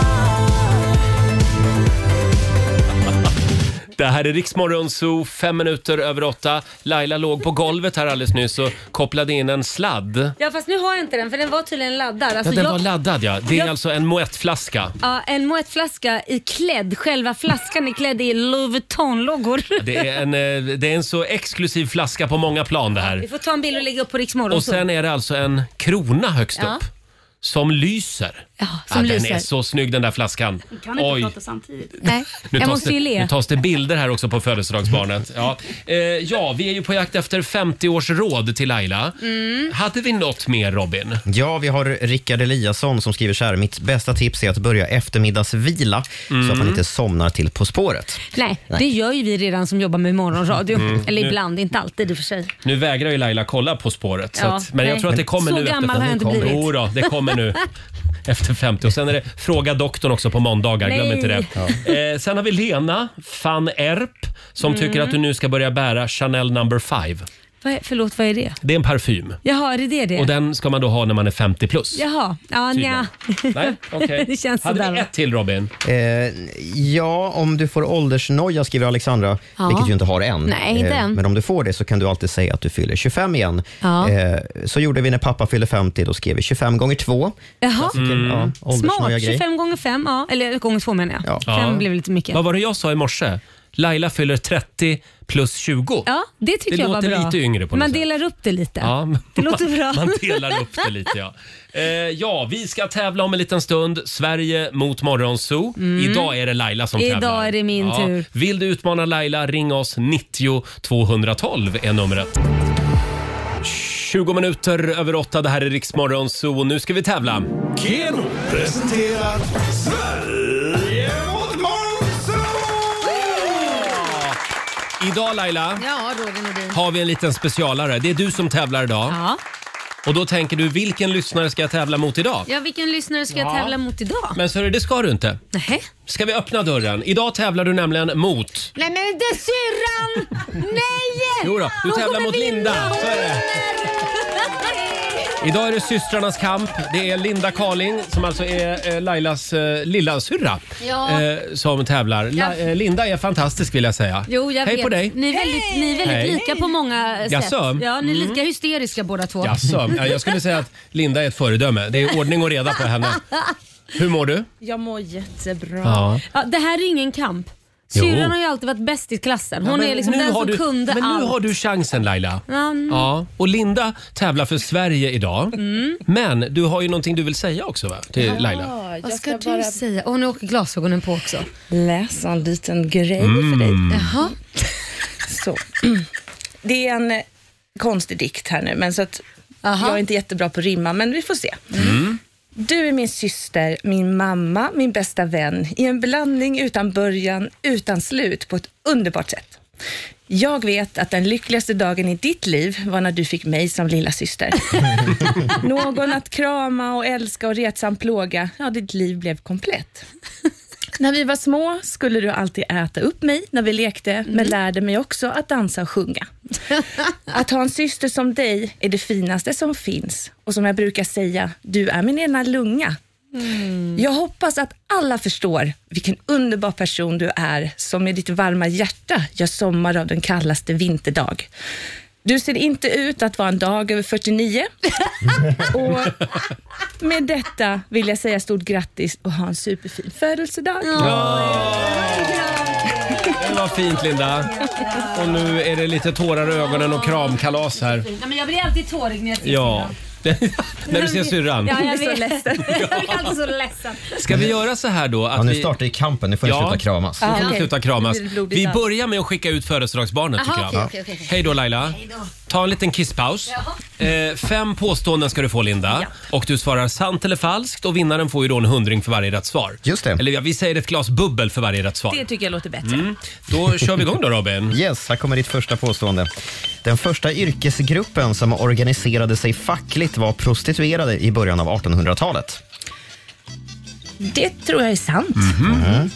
Speaker 1: Det här är Riksmorgon Zoo, fem minuter över åtta. Laila låg på golvet här alldeles nyss och kopplade in en sladd.
Speaker 2: Ja, fast nu har jag inte den för den var tydligen laddad. Alltså,
Speaker 1: ja, den
Speaker 2: jag-
Speaker 1: var laddad ja. Det är
Speaker 2: jag-
Speaker 1: alltså en moettflaska.
Speaker 2: Ja, en moettflaska i klädd. Själva flaskan är klädd i Louis Vuitton-loggor.
Speaker 1: Det är, en, eh, det är en så exklusiv flaska på många plan det
Speaker 2: Vi
Speaker 1: här.
Speaker 2: får ta en bild och lägga upp på Riksmorgon.
Speaker 1: Och sen är det alltså en alltså krona högst
Speaker 2: Ja.
Speaker 1: upp. Som lyser. Ja, den
Speaker 8: som lyser.
Speaker 1: är så snygg den där flaskan.
Speaker 21: Vi kan inte prata samtidigt.
Speaker 8: Nej,
Speaker 1: Nu
Speaker 8: jag
Speaker 1: tas
Speaker 8: måste ju
Speaker 1: det,
Speaker 8: le.
Speaker 1: Nu tas det bilder här också på födelsedagsbarnet. Ja. Eh, ja, vi är ju på jakt efter 50 års råd till Laila.
Speaker 8: Mm.
Speaker 1: Hade vi något mer Robin?
Speaker 9: Ja, vi har Rickard Eliasson som skriver så här. Mitt bästa tips är att börja eftermiddagsvila så att
Speaker 1: Mm.
Speaker 9: man inte somnar till På spåret.
Speaker 8: Nej,
Speaker 9: Nej.
Speaker 8: det gör ju vi redan som jobbar med morgonradio.
Speaker 1: Mm.
Speaker 8: Eller
Speaker 1: Nu-
Speaker 8: ibland, inte alltid i och för sig.
Speaker 1: Nu vägrar ju Laila kolla På spåret. så
Speaker 8: Ja,
Speaker 1: att, men jag
Speaker 8: nej.
Speaker 1: tror att det kommer
Speaker 8: Så
Speaker 1: nu.
Speaker 8: gammal har jag inte blivit.
Speaker 1: Jo då, det kommer nu. Efter 50. Och sen är det Fråga doktorn också på måndagar. Glöm
Speaker 8: Nej.
Speaker 1: inte det. Eh, sen har vi Lena van Erp som
Speaker 8: Mm.
Speaker 1: tycker att du nu ska börja bära Chanel number 5.
Speaker 8: Vad är, förlåt, vad är det?
Speaker 1: Det är en parfym.
Speaker 8: Jaha, är det det? det?
Speaker 1: Och den ska man då ha när man är 50 plus.
Speaker 8: Jaha, ja,
Speaker 1: Tydligen.
Speaker 8: nja.
Speaker 1: Nej, okej.
Speaker 8: det känns
Speaker 1: Hade
Speaker 8: sådär.
Speaker 1: vi ett till Robin?
Speaker 9: Eh, ja, om du får åldersnoja skriver Alexandra,
Speaker 8: Ja.
Speaker 9: vilket du inte har än. Eh,
Speaker 8: Nej, inte än.
Speaker 9: Men om du får det så kan du alltid säga att du fyller 25 igen.
Speaker 8: Ja.
Speaker 9: Eh, så gjorde vi när pappa fyllde 50, då skrev vi 25 gånger 2.
Speaker 1: Mm. Alltså,
Speaker 8: Jaha.
Speaker 9: Ja, åldersnoja
Speaker 8: Smart,
Speaker 9: grej.
Speaker 8: 25 gånger 5, ja. eller gånger 2 menar jag.
Speaker 1: Ja.
Speaker 8: 5 blev lite mycket.
Speaker 1: Vad var det jag sa i morse? Laila fyller 30 plus 20.
Speaker 8: Ja, det tycker
Speaker 1: Det
Speaker 8: jag var
Speaker 1: låter
Speaker 8: bra.
Speaker 1: lite yngre på något
Speaker 8: Man
Speaker 1: sätt.
Speaker 8: delar upp det lite.
Speaker 1: Ja,
Speaker 8: Det låter bra.
Speaker 1: Man delar upp det lite ja. Eh, ja, vi ska tävla om en liten stund. Sverige mot Morgonzoo.
Speaker 8: Mm.
Speaker 1: Idag är det Laila som
Speaker 8: Idag
Speaker 1: tävlar.
Speaker 8: är det min tur.
Speaker 1: Vill du utmana Laila, ring oss. 90 212 är numret. 20 minuter över åtta. Det här är Riksmorgon Zoo. Nu ska vi tävla.
Speaker 4: Keno presenterar Sverige mot Monzo!
Speaker 1: Idag Laila
Speaker 8: Ja, Roger Nordin.
Speaker 1: har vi en liten specialare. Det är du som tävlar idag.
Speaker 8: Ja.
Speaker 1: Och då tänker du, vilken lyssnare ska jag tävla mot idag?
Speaker 8: Ja, vilken lyssnare ska jag
Speaker 1: Ja.
Speaker 8: tävla mot idag?
Speaker 1: Men så det ska du inte.
Speaker 8: Nej.
Speaker 1: Ska vi öppna dörren? Idag tävlar du nämligen mot...
Speaker 8: Nej men inte syrran! Nej!
Speaker 1: Jo då, du
Speaker 8: Hon
Speaker 1: tävlar
Speaker 8: kommer
Speaker 1: mot
Speaker 8: vinna.
Speaker 1: Linda. Så är det. Idag är det systrarnas kamp. Det är Linda Karling, som alltså är eh, Lailas eh, lilla syrra
Speaker 8: Ja.
Speaker 1: eh, som tävlar. La, eh, Linda är fantastisk vill jag säga.
Speaker 8: Jo, jag
Speaker 1: Hej
Speaker 8: vet.
Speaker 1: på dig!
Speaker 8: Ni är väldigt, ni är väldigt
Speaker 1: Hej.
Speaker 8: lika på många eh, sätt.
Speaker 1: Jaså?
Speaker 8: Ja, ni är lika hysteriska båda två.
Speaker 1: Jaså, ja, jag skulle säga att Linda är ett föredöme. Det är ordning och reda på henne. Hur mår du?
Speaker 8: Jag mår jättebra.
Speaker 1: Ja.
Speaker 8: det här är ingen kamp.
Speaker 1: Jo.
Speaker 8: Syrran har ju alltid varit bäst i klassen. Hon
Speaker 1: Ja, men
Speaker 8: är liksom
Speaker 1: nu
Speaker 8: den
Speaker 1: har
Speaker 8: som
Speaker 1: du,
Speaker 8: kunde
Speaker 1: Men
Speaker 8: allt.
Speaker 1: nu har du chansen Laila.
Speaker 8: Ja, mm.
Speaker 1: Ja, och Linda tävlar för Sverige idag.
Speaker 8: Mm.
Speaker 1: Men du har ju någonting du vill säga också va? Till Laila.
Speaker 8: Vad ska du säga? Och nu åker glasögonen på också.
Speaker 22: läsa en liten grej
Speaker 1: Mm.
Speaker 22: för dig.
Speaker 8: Jaha.
Speaker 22: Så. Det är en eh, konstig dikt här nu, men så att jag är inte jättebra på att rimma, men vi får se. Du är min syster, min mamma, min bästa vän i en blandning utan början, utan slut på ett underbart sätt. Jag vet att den lyckligaste dagen i ditt liv var när du fick mig som lilla syster. Någon att krama och älska och retsam plåga. Ja, ditt liv blev komplett. När vi var små skulle du alltid äta upp mig när vi lekte, men lärde mig också att dansa och sjunga. Att ha en syster som dig är det finaste som finns och som jag brukar säga, du är min ena lunga. Jag hoppas att alla förstår vilken underbar person du är som med ditt varma hjärta gör sommar av den kallaste vinterdag. Du ser inte ut att vara en dag över 49 och med detta vill jag säga stort grattis och ha en superfin födelsedag.
Speaker 1: Det var fint Linda. Och nu är det lite tårar i ögonen och kramkalas här.
Speaker 8: Ja, men jag blir alltid tårig när jag ser
Speaker 1: Ja. När du ser syrran.
Speaker 8: Ja, jag
Speaker 22: blir så
Speaker 8: vet.
Speaker 22: ledsen.
Speaker 8: jag blir alltid så ledsen.
Speaker 1: Ska vi göra så här då? Att
Speaker 9: Ja, nu
Speaker 1: vi...
Speaker 9: startar ju kampen. Nu får ni sluta kramas.
Speaker 1: Nu får
Speaker 8: Ah,
Speaker 1: ni
Speaker 8: okej.
Speaker 1: sluta kramas.
Speaker 8: Nu blir det blodigt
Speaker 1: Vi
Speaker 8: där.
Speaker 1: börjar med att skicka ut födelsedagsbarnet
Speaker 8: Aha,
Speaker 1: tycker jag.
Speaker 8: okej, okej, okej, okej.
Speaker 1: Hej då Laila. Ta en liten kisspaus. Eh, fem påståenden ska du få Linda. Och du svarar sant eller falskt och vinnaren får ju då en hundring för varje rätt svar. Just det. Eller ja, vi säger ett glas bubbel för varje rätt svar.
Speaker 22: Det tycker jag låter bättre.
Speaker 1: Mm. Då kör vi igång då Robin.
Speaker 9: Yes, här kommer ditt första påstående. Den första yrkesgruppen som organiserade sig fackligt var prostituerade i början av 1800-talet.
Speaker 22: Det tror jag är sant.
Speaker 9: Mhm.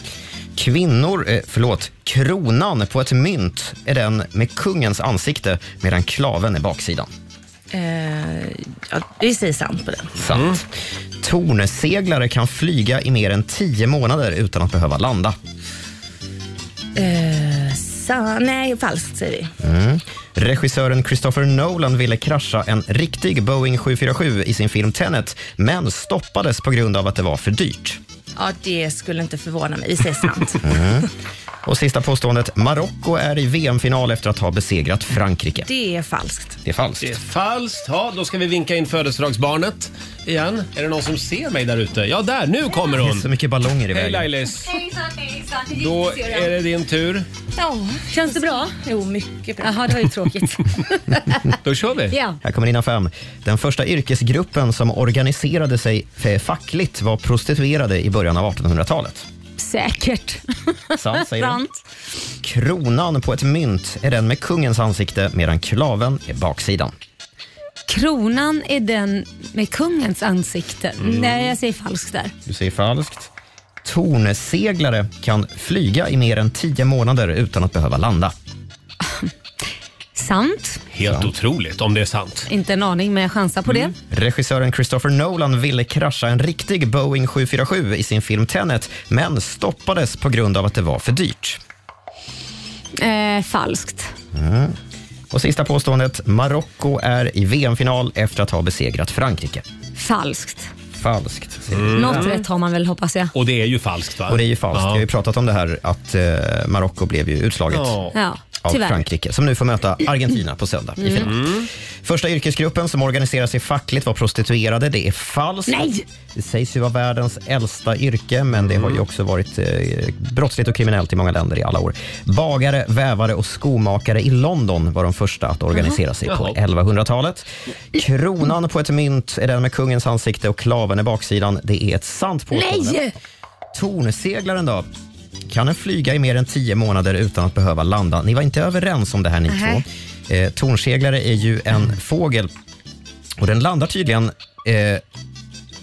Speaker 9: Kvinnor, eh, förlåt, kronan på ett mynt är den med kungens ansikte medan klaven är baksidan.
Speaker 22: Eh, ja, vi säger sant på den.
Speaker 9: Sant. Tornseglare kan flyga i mer än tio månader utan att behöva landa.
Speaker 22: Eh, sa, nej, falskt säger vi.
Speaker 9: Mm. Regissören Christopher Nolan ville krascha en riktig Boeing 747 i sin film Tenet, men stoppades på grund av att det var för dyrt.
Speaker 22: Ja, det skulle inte förvåna mig. Vi säger sant.
Speaker 9: Mm. Och sista påståendet. Marocko är i VM-final efter att ha besegrat Frankrike.
Speaker 22: Det är falskt.
Speaker 9: Det är falskt.
Speaker 1: Det är falskt. Ja, då ska vi vinka in födelsedagsbarnet igen. Är det någon som ser mig där ute? Ja, där! Nu kommer hon!
Speaker 9: Det är så mycket ballonger
Speaker 1: Hej
Speaker 9: i vägen.
Speaker 1: Lailis! Då är det din tur.
Speaker 22: Ja,
Speaker 2: känns det bra?
Speaker 22: Jo, mycket bra.
Speaker 2: Jaha, det var ju tråkigt.
Speaker 1: Då kör vi.
Speaker 2: ja.
Speaker 9: Här kommer dina fem. Den första yrkesgruppen som organiserade sig f- fackligt var prostituerade i början av 1800-talet.
Speaker 2: Säkert.
Speaker 9: Sant, säger du.
Speaker 2: Sant.
Speaker 9: Kronan på ett mynt är den med kungens ansikte medan klaven är baksidan.
Speaker 2: Kronan är den med kungens ansikte.
Speaker 1: Mm.
Speaker 2: Nej, jag säger falskt där.
Speaker 9: Du säger falskt. Tornseglare kan flyga i mer än tio månader utan att behöva landa.
Speaker 2: Sant.
Speaker 1: Helt otroligt om det är sant.
Speaker 2: Inte en aning, men jag chansar på det.
Speaker 9: Regissören Christopher Nolan ville krascha en riktig Boeing 747 i sin film Tenet, men stoppades på grund av att det var för dyrt.
Speaker 2: Eh, falskt.
Speaker 9: Mm. Och sista påståendet. Marocko är i VM-final efter att ha besegrat Frankrike.
Speaker 2: Falskt.
Speaker 9: Falskt. säger
Speaker 1: Mm.
Speaker 9: du.
Speaker 2: Något rätt har man väl hoppas jag.
Speaker 1: Och det är ju falskt va?
Speaker 9: Och det är ju falskt. Vi har ju pratat om det här att eh, Marocko blev ju utslaget.
Speaker 2: Ja,
Speaker 9: av
Speaker 2: tyvärr.
Speaker 9: Frankrike som nu får möta Argentina på söndag i
Speaker 2: Mm.
Speaker 9: final. Första yrkesgruppen som organiserar sig fackligt var prostituerade. Det är falskt.
Speaker 2: Nej! Mm.
Speaker 9: Det sägs ju vara världens äldsta yrke, men det har ju också varit eh, brottsligt och kriminellt i många länder i alla år. Bagare, vävare och skomakare i London var de första att organisera sig på
Speaker 1: Jaha.
Speaker 9: 1100-talet. Kronan på ett mynt är den med kungens ansikte och klaven är baksidan. Det är ett sant påstående.
Speaker 2: Nej!
Speaker 9: Tornseglaren då? Kan den flyga i mer än tio månader utan att behöva landa? Ni var inte överens om det här ni
Speaker 2: Nej. Mm.
Speaker 9: två. Eh, tornseglare är ju en fågel och den landar tydligen eh,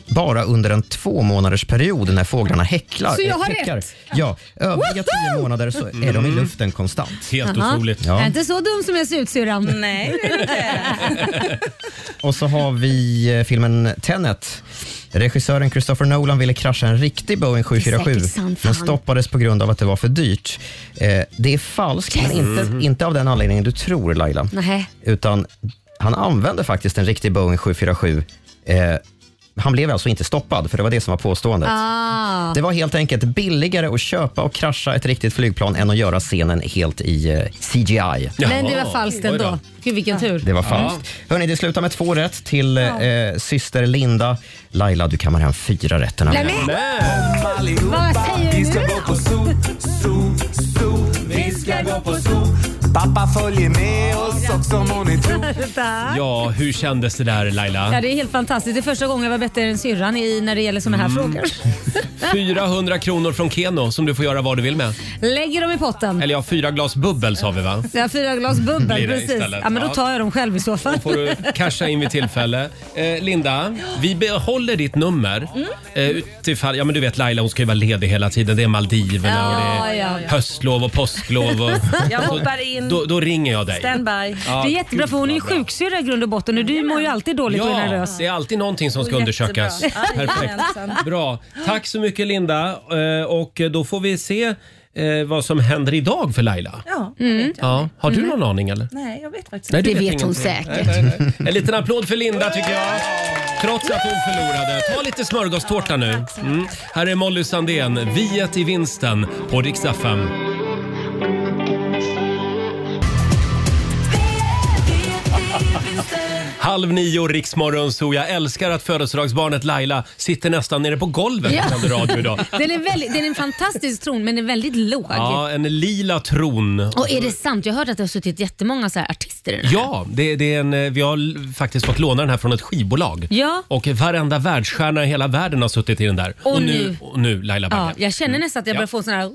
Speaker 9: bara under en två månaders period när fåglarna häcklar.
Speaker 2: Så jag har
Speaker 9: eh, häckar.
Speaker 2: rätt?
Speaker 9: Ja, övriga tio månader så är de i
Speaker 1: Mm.
Speaker 9: luften konstant.
Speaker 2: Jaha. Jag är inte så dum som jag ser ut syrran.
Speaker 22: Nej,
Speaker 9: Och så har vi eh, filmen Tenet. Regissören Christopher Nolan ville krascha en riktig Boeing
Speaker 4: Det är
Speaker 9: 747
Speaker 4: säkert sant,
Speaker 9: men
Speaker 4: fan.
Speaker 9: stoppades på grund av att det var för dyrt. Eh, det är falskt,
Speaker 4: Yes.
Speaker 9: men inte,
Speaker 4: Mhm.
Speaker 9: inte av den anledningen du tror Laila.
Speaker 2: Nej.
Speaker 9: Utan han använde faktiskt en riktig Boeing 747. Eh, han blev alltså inte stoppad, för det var det som var påståendet.
Speaker 2: Ah.
Speaker 9: Det var helt enkelt billigare att köpa och krascha ett riktigt flygplan än att göra scenen helt i eh, CGI.
Speaker 2: Men det var falskt ändå. Gud vilken tur.
Speaker 9: Det var falskt. Hörni, det slutar med två rätt till eh, syster Linda. Laila, du kammar hem fyra rätt den här
Speaker 2: Nej,
Speaker 9: veckan.
Speaker 2: men- Vad
Speaker 4: Vi
Speaker 2: säger
Speaker 4: ska
Speaker 2: du
Speaker 4: gå på
Speaker 2: då?
Speaker 4: zoo, zoo, zoo. Vi ska gå på zoo. Pappa följer med oss också må ni tro.
Speaker 2: Tack.
Speaker 1: Ja, hur kändes det där Laila?
Speaker 2: Ja, det är helt fantastiskt. Det är första gången jag var bättre än syrran i, när det gäller såna här
Speaker 1: Mm.
Speaker 2: frågor.
Speaker 1: 400 kronor från Keno som du får göra vad du vill med.
Speaker 2: Lägger dem i potten.
Speaker 1: Eller ja, fyra glas bubbel sa vi va?
Speaker 2: Jag har fyra glas
Speaker 1: Blir
Speaker 2: bubbel,
Speaker 1: det
Speaker 2: precis.
Speaker 1: istället.
Speaker 2: Ja, men
Speaker 1: Ja.
Speaker 2: då tar jag dem själv i så fall.
Speaker 1: får du casha in vid tillfälle. Eh, Linda, vi behåller ditt nummer.
Speaker 22: Mm.
Speaker 1: Eh, utifall, ja, men du vet Laila hon ska ju vara ledig hela tiden. Det är Maldiverna
Speaker 22: Ja,
Speaker 1: och det är
Speaker 22: ja, ja.
Speaker 1: höstlov och påsklov. Och,
Speaker 22: Jag
Speaker 1: Så
Speaker 22: hoppar in.
Speaker 1: Då, då ringer jag dig.
Speaker 22: Standby.
Speaker 1: Ja,
Speaker 2: det är jättebra för hon är ju sjuksyrra i grund och botten och du mår ju alltid dåligt och är
Speaker 1: Ja,
Speaker 2: nervös.
Speaker 1: det är alltid någonting som ska
Speaker 2: Jättebra.
Speaker 1: undersökas.
Speaker 2: Ja,
Speaker 1: Perfekt.
Speaker 2: jajamensan.
Speaker 1: Bra. Tack så mycket Linda. Eh, Och då får vi se eh, vad som händer idag för Laila.
Speaker 22: Ja,
Speaker 1: Ja. Har du någon aning eller?
Speaker 22: Nej, jag vet faktiskt
Speaker 1: Nej,
Speaker 22: inte.
Speaker 1: du ingenting. Nej, nej, nej. En liten applåd för Linda tycker jag. Trots att hon förlorade. Ta lite smörgåstårta nu. Mm. Här är Molly Sandén, Viet i vinsten på riksdag 5. Halv nio, Riksmorgon, så jag älskar att födelsedagsbarnet Laila sitter nästan nere på golvet
Speaker 2: Ja.
Speaker 1: och sänder radio idag.
Speaker 2: Den är, väldigt, den är en fantastisk tron men den är väldigt låg.
Speaker 1: Ja, en lila tron.
Speaker 2: Och är det sant? Jag hörde att det har suttit jättemånga så här artister i den här.
Speaker 1: Ja, det, det är en, eh, vi har l- faktiskt fått låna den här från ett skivbolag.
Speaker 2: Ja.
Speaker 1: Och varenda världsstjärna i hela världen har suttit i den där.
Speaker 2: Och nu.
Speaker 1: och nu Laila
Speaker 2: Ja,
Speaker 1: Bagge.
Speaker 2: jag känner nästan att jag börjar
Speaker 1: Mm. Ja.
Speaker 2: få sån här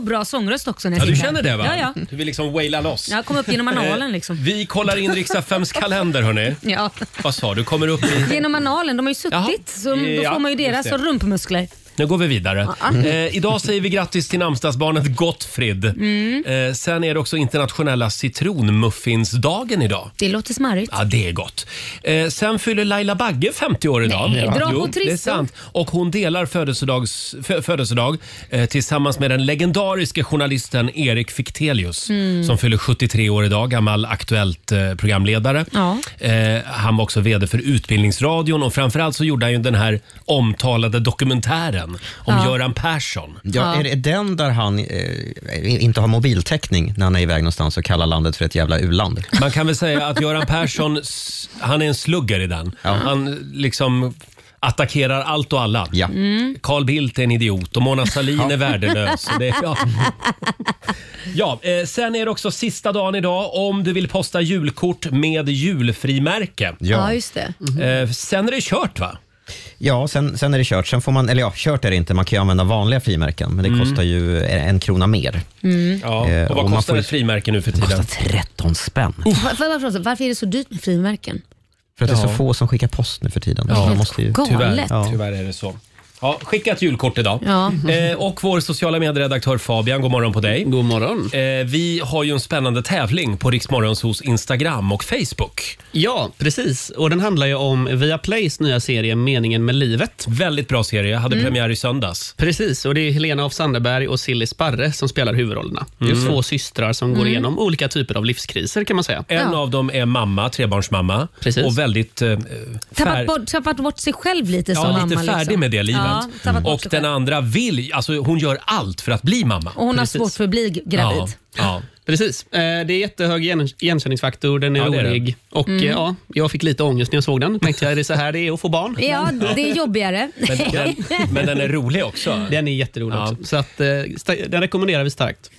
Speaker 2: "Woo!" bra sångröst också. När
Speaker 1: Ja,
Speaker 2: jag
Speaker 1: du
Speaker 2: sitter här.
Speaker 1: känner det va?
Speaker 2: Ja, ja.
Speaker 1: Du vill liksom waila loss.
Speaker 2: Jag kom upp genom
Speaker 1: Eh,
Speaker 2: analen liksom.
Speaker 1: Vi kollar in riksdagsfems kalender hörni.
Speaker 2: Ja.
Speaker 1: Vad sa du? Kommer upp i...
Speaker 2: Genom analen, de har ju suttit
Speaker 1: Jaha.
Speaker 2: så då
Speaker 1: Ja,
Speaker 2: får man ju
Speaker 1: just
Speaker 2: deras
Speaker 1: det.
Speaker 2: rumpmuskler.
Speaker 1: Nu går vi vidare.
Speaker 2: Ja.
Speaker 1: Eh, idag säger vi grattis till namnsdagsbarnet Gottfrid.
Speaker 2: Mm.
Speaker 1: Eh, sen är det också internationella citronmuffinsdagen idag.
Speaker 2: Det låter smarrigt.
Speaker 1: Ja, det är gott. Eh, sen fyller Laila Bagge 50 år idag.
Speaker 2: Nej,
Speaker 1: ja.
Speaker 2: dra på
Speaker 1: det är
Speaker 2: trissor.
Speaker 1: sant. Och hon delar födelsedags, fö, födelsedag eh, tillsammans med den legendariske journalisten Erik Fichtelius
Speaker 4: Mm.
Speaker 1: som fyller 73 år idag, gammal Aktuellt-programledare. Eh, han var också VD för Utbildningsradion och framförallt så gjorde han ju den här omtalade dokumentären Världen om
Speaker 9: Ja.
Speaker 1: Göran Persson.
Speaker 9: Ja, Är det den där han eh, inte har mobiltäckning när han är iväg någonstans och kallar landet för ett jävla u-land?
Speaker 1: Man kan väl säga att Göran Persson, s- han är en slugger i den. Han liksom attackerar allt och alla.
Speaker 8: Mm.
Speaker 1: Carl Bildt är en idiot och Mona Sahlin
Speaker 8: Ja.
Speaker 1: är värdelös. Det är, ja. Ja, eh, sen är det också sista dagen idag om du vill posta julkort med julfrimärke.
Speaker 9: Ja,
Speaker 2: just det.
Speaker 9: Mm.
Speaker 1: Eh, sen är det kört va?
Speaker 9: Ja, sen, sen är det kört. Sen får man, eller ja, kört är det inte. Man kan ju använda vanliga frimärken, men det
Speaker 1: Mm.
Speaker 9: kostar ju eh, en krona mer.
Speaker 2: Mm.
Speaker 1: Ja,
Speaker 9: Eh,
Speaker 1: och vad
Speaker 9: och man
Speaker 1: kostar
Speaker 9: får ju-
Speaker 1: ett frimärke nu för tiden?
Speaker 9: 13 spänn.
Speaker 2: Var, var, varför, varför är det så dyrt med frimärken?
Speaker 9: För att det är så
Speaker 1: Ja.
Speaker 9: få som skickar post nu för tiden.
Speaker 1: Ja,
Speaker 9: man måste ju,
Speaker 1: tyvärr,
Speaker 2: galet.
Speaker 9: Ja.
Speaker 1: tyvärr är det så. Ja, skicka ett julkort idag.
Speaker 2: Ja.
Speaker 1: Eh, och vår sociala medieredaktör Fabian, god morgon på dig. God morgon. Eh, vi har ju en spännande tävling på Riksmorgonsos Instagram och Facebook.
Speaker 20: Ja, precis. Och den handlar ju om Viaplays nya serie Meningen med livet.
Speaker 1: Väldigt bra serie. Hade
Speaker 20: Mm.
Speaker 1: premiär i söndags.
Speaker 20: Precis, och det är Helena af Sandeberg och Silly Sparre som spelar huvudrollerna. Det
Speaker 1: Mm.
Speaker 20: är två systrar som går
Speaker 1: Mm.
Speaker 20: igenom olika typer av livskriser kan man säga.
Speaker 1: En Ja. av dem är mamma, trebarnsmamma.
Speaker 20: Precis.
Speaker 1: Och väldigt... Eh,
Speaker 2: Tappat
Speaker 1: fär-
Speaker 2: bort, tappat bort sig själv lite som
Speaker 1: Ja,
Speaker 2: mamma.
Speaker 1: lite färdig
Speaker 2: liksom.
Speaker 1: med det livet.
Speaker 2: Ja, tappat bort
Speaker 1: Och
Speaker 2: sig
Speaker 1: den
Speaker 2: själv.
Speaker 1: andra vill, alltså hon gör allt för att bli mamma.
Speaker 2: Och hon har svårt för att bli gravid.
Speaker 1: Ja.
Speaker 20: Precis. Eh, Det är jättehög igen- igenkänningsfaktor, den är
Speaker 1: Ja, det är
Speaker 20: rolig.
Speaker 1: den.
Speaker 20: Och
Speaker 2: Mm.
Speaker 20: eh, ja, jag fick lite ångest när jag såg den. Tänkte jag, är det så här det är att få barn?
Speaker 2: Ja,
Speaker 20: Men-
Speaker 2: det är jobbigare.
Speaker 1: rolig också.
Speaker 20: Den är jätterolig också. Så att, eh, sta- den rekommenderar vi starkt.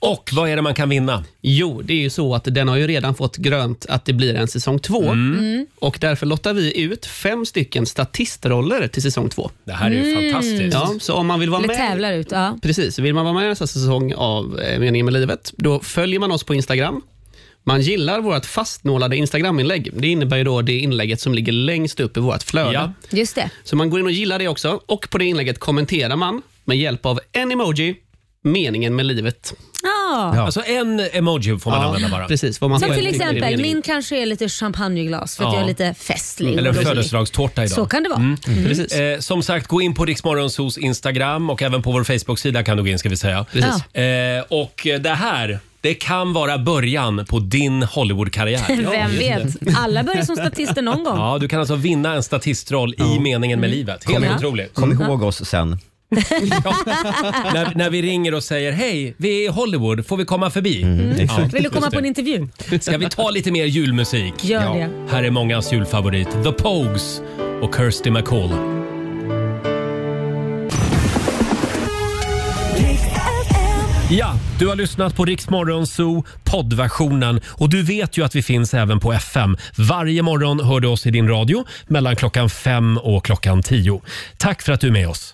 Speaker 1: Och, vad är det man kan vinna?
Speaker 20: Jo, det är ju så att den har ju redan fått grönt att det blir en säsong två.
Speaker 1: Mm.
Speaker 20: Och därför lottar vi ut fem stycken statistroller till säsong två.
Speaker 1: Det
Speaker 2: här är ju Mm. fantastiskt.
Speaker 20: Ja, så om man vill vara
Speaker 2: Eller
Speaker 20: med
Speaker 2: tävlar ut. Ja.
Speaker 20: Precis. Vill man vara med i nästa säsong av eh, Meningen med livet, då följer man oss på Instagram. Man gillar vårt fastnålade Instagram-inlägg. Det innebär ju då det inlägget som ligger längst upp i vårt flöde.
Speaker 2: Just det.
Speaker 20: Så man går in och gillar det också. Och på det inlägget kommenterar man med hjälp av en emoji, meningen med livet.
Speaker 2: Ja.
Speaker 1: Alltså en emoji får man
Speaker 20: Ja,
Speaker 1: använda bara.
Speaker 20: precis, vad man
Speaker 2: Som
Speaker 20: själv
Speaker 2: till
Speaker 20: tycker är
Speaker 2: exempel,
Speaker 20: meningen.
Speaker 2: min kanske är lite champagneglas för att
Speaker 1: Ja.
Speaker 2: jag är lite festlig.
Speaker 1: Eller
Speaker 2: och rolig.
Speaker 1: födelsedagstårta idag.
Speaker 2: Så kan det vara. Mm.
Speaker 20: Precis.
Speaker 1: Eh, som sagt, gå in på Riksmorgonsos Instagram och även på vår Facebook-sida kan du gå in ska vi säga.
Speaker 20: Precis.
Speaker 1: Eh, och det här, det kan vara början på din Hollywood-karriär.
Speaker 2: Vem vet? Alla börjar som statister någon gång.
Speaker 1: Ja, du kan alltså vinna en statistroll i meningen med livet. Helt
Speaker 9: Kom-
Speaker 1: otroligt.
Speaker 9: Kom ihåg oss sen.
Speaker 1: när, när vi ringer och säger hej, vi är i Hollywood, får vi komma förbi?
Speaker 2: Vill du komma
Speaker 1: just
Speaker 2: på en
Speaker 1: det.
Speaker 2: intervju?
Speaker 1: Ska vi ta lite mer julmusik?
Speaker 2: Gör Ja. det.
Speaker 1: Här är mångas julfavorit, The Pogues och Kirsty MacColl. Ja, du har lyssnat på Rix Morgon Zoo poddversionen och du vet ju att vi finns även på FM. Varje morgon hör du oss i din radio mellan klockan fem och klockan tio. Tack för att du är med oss.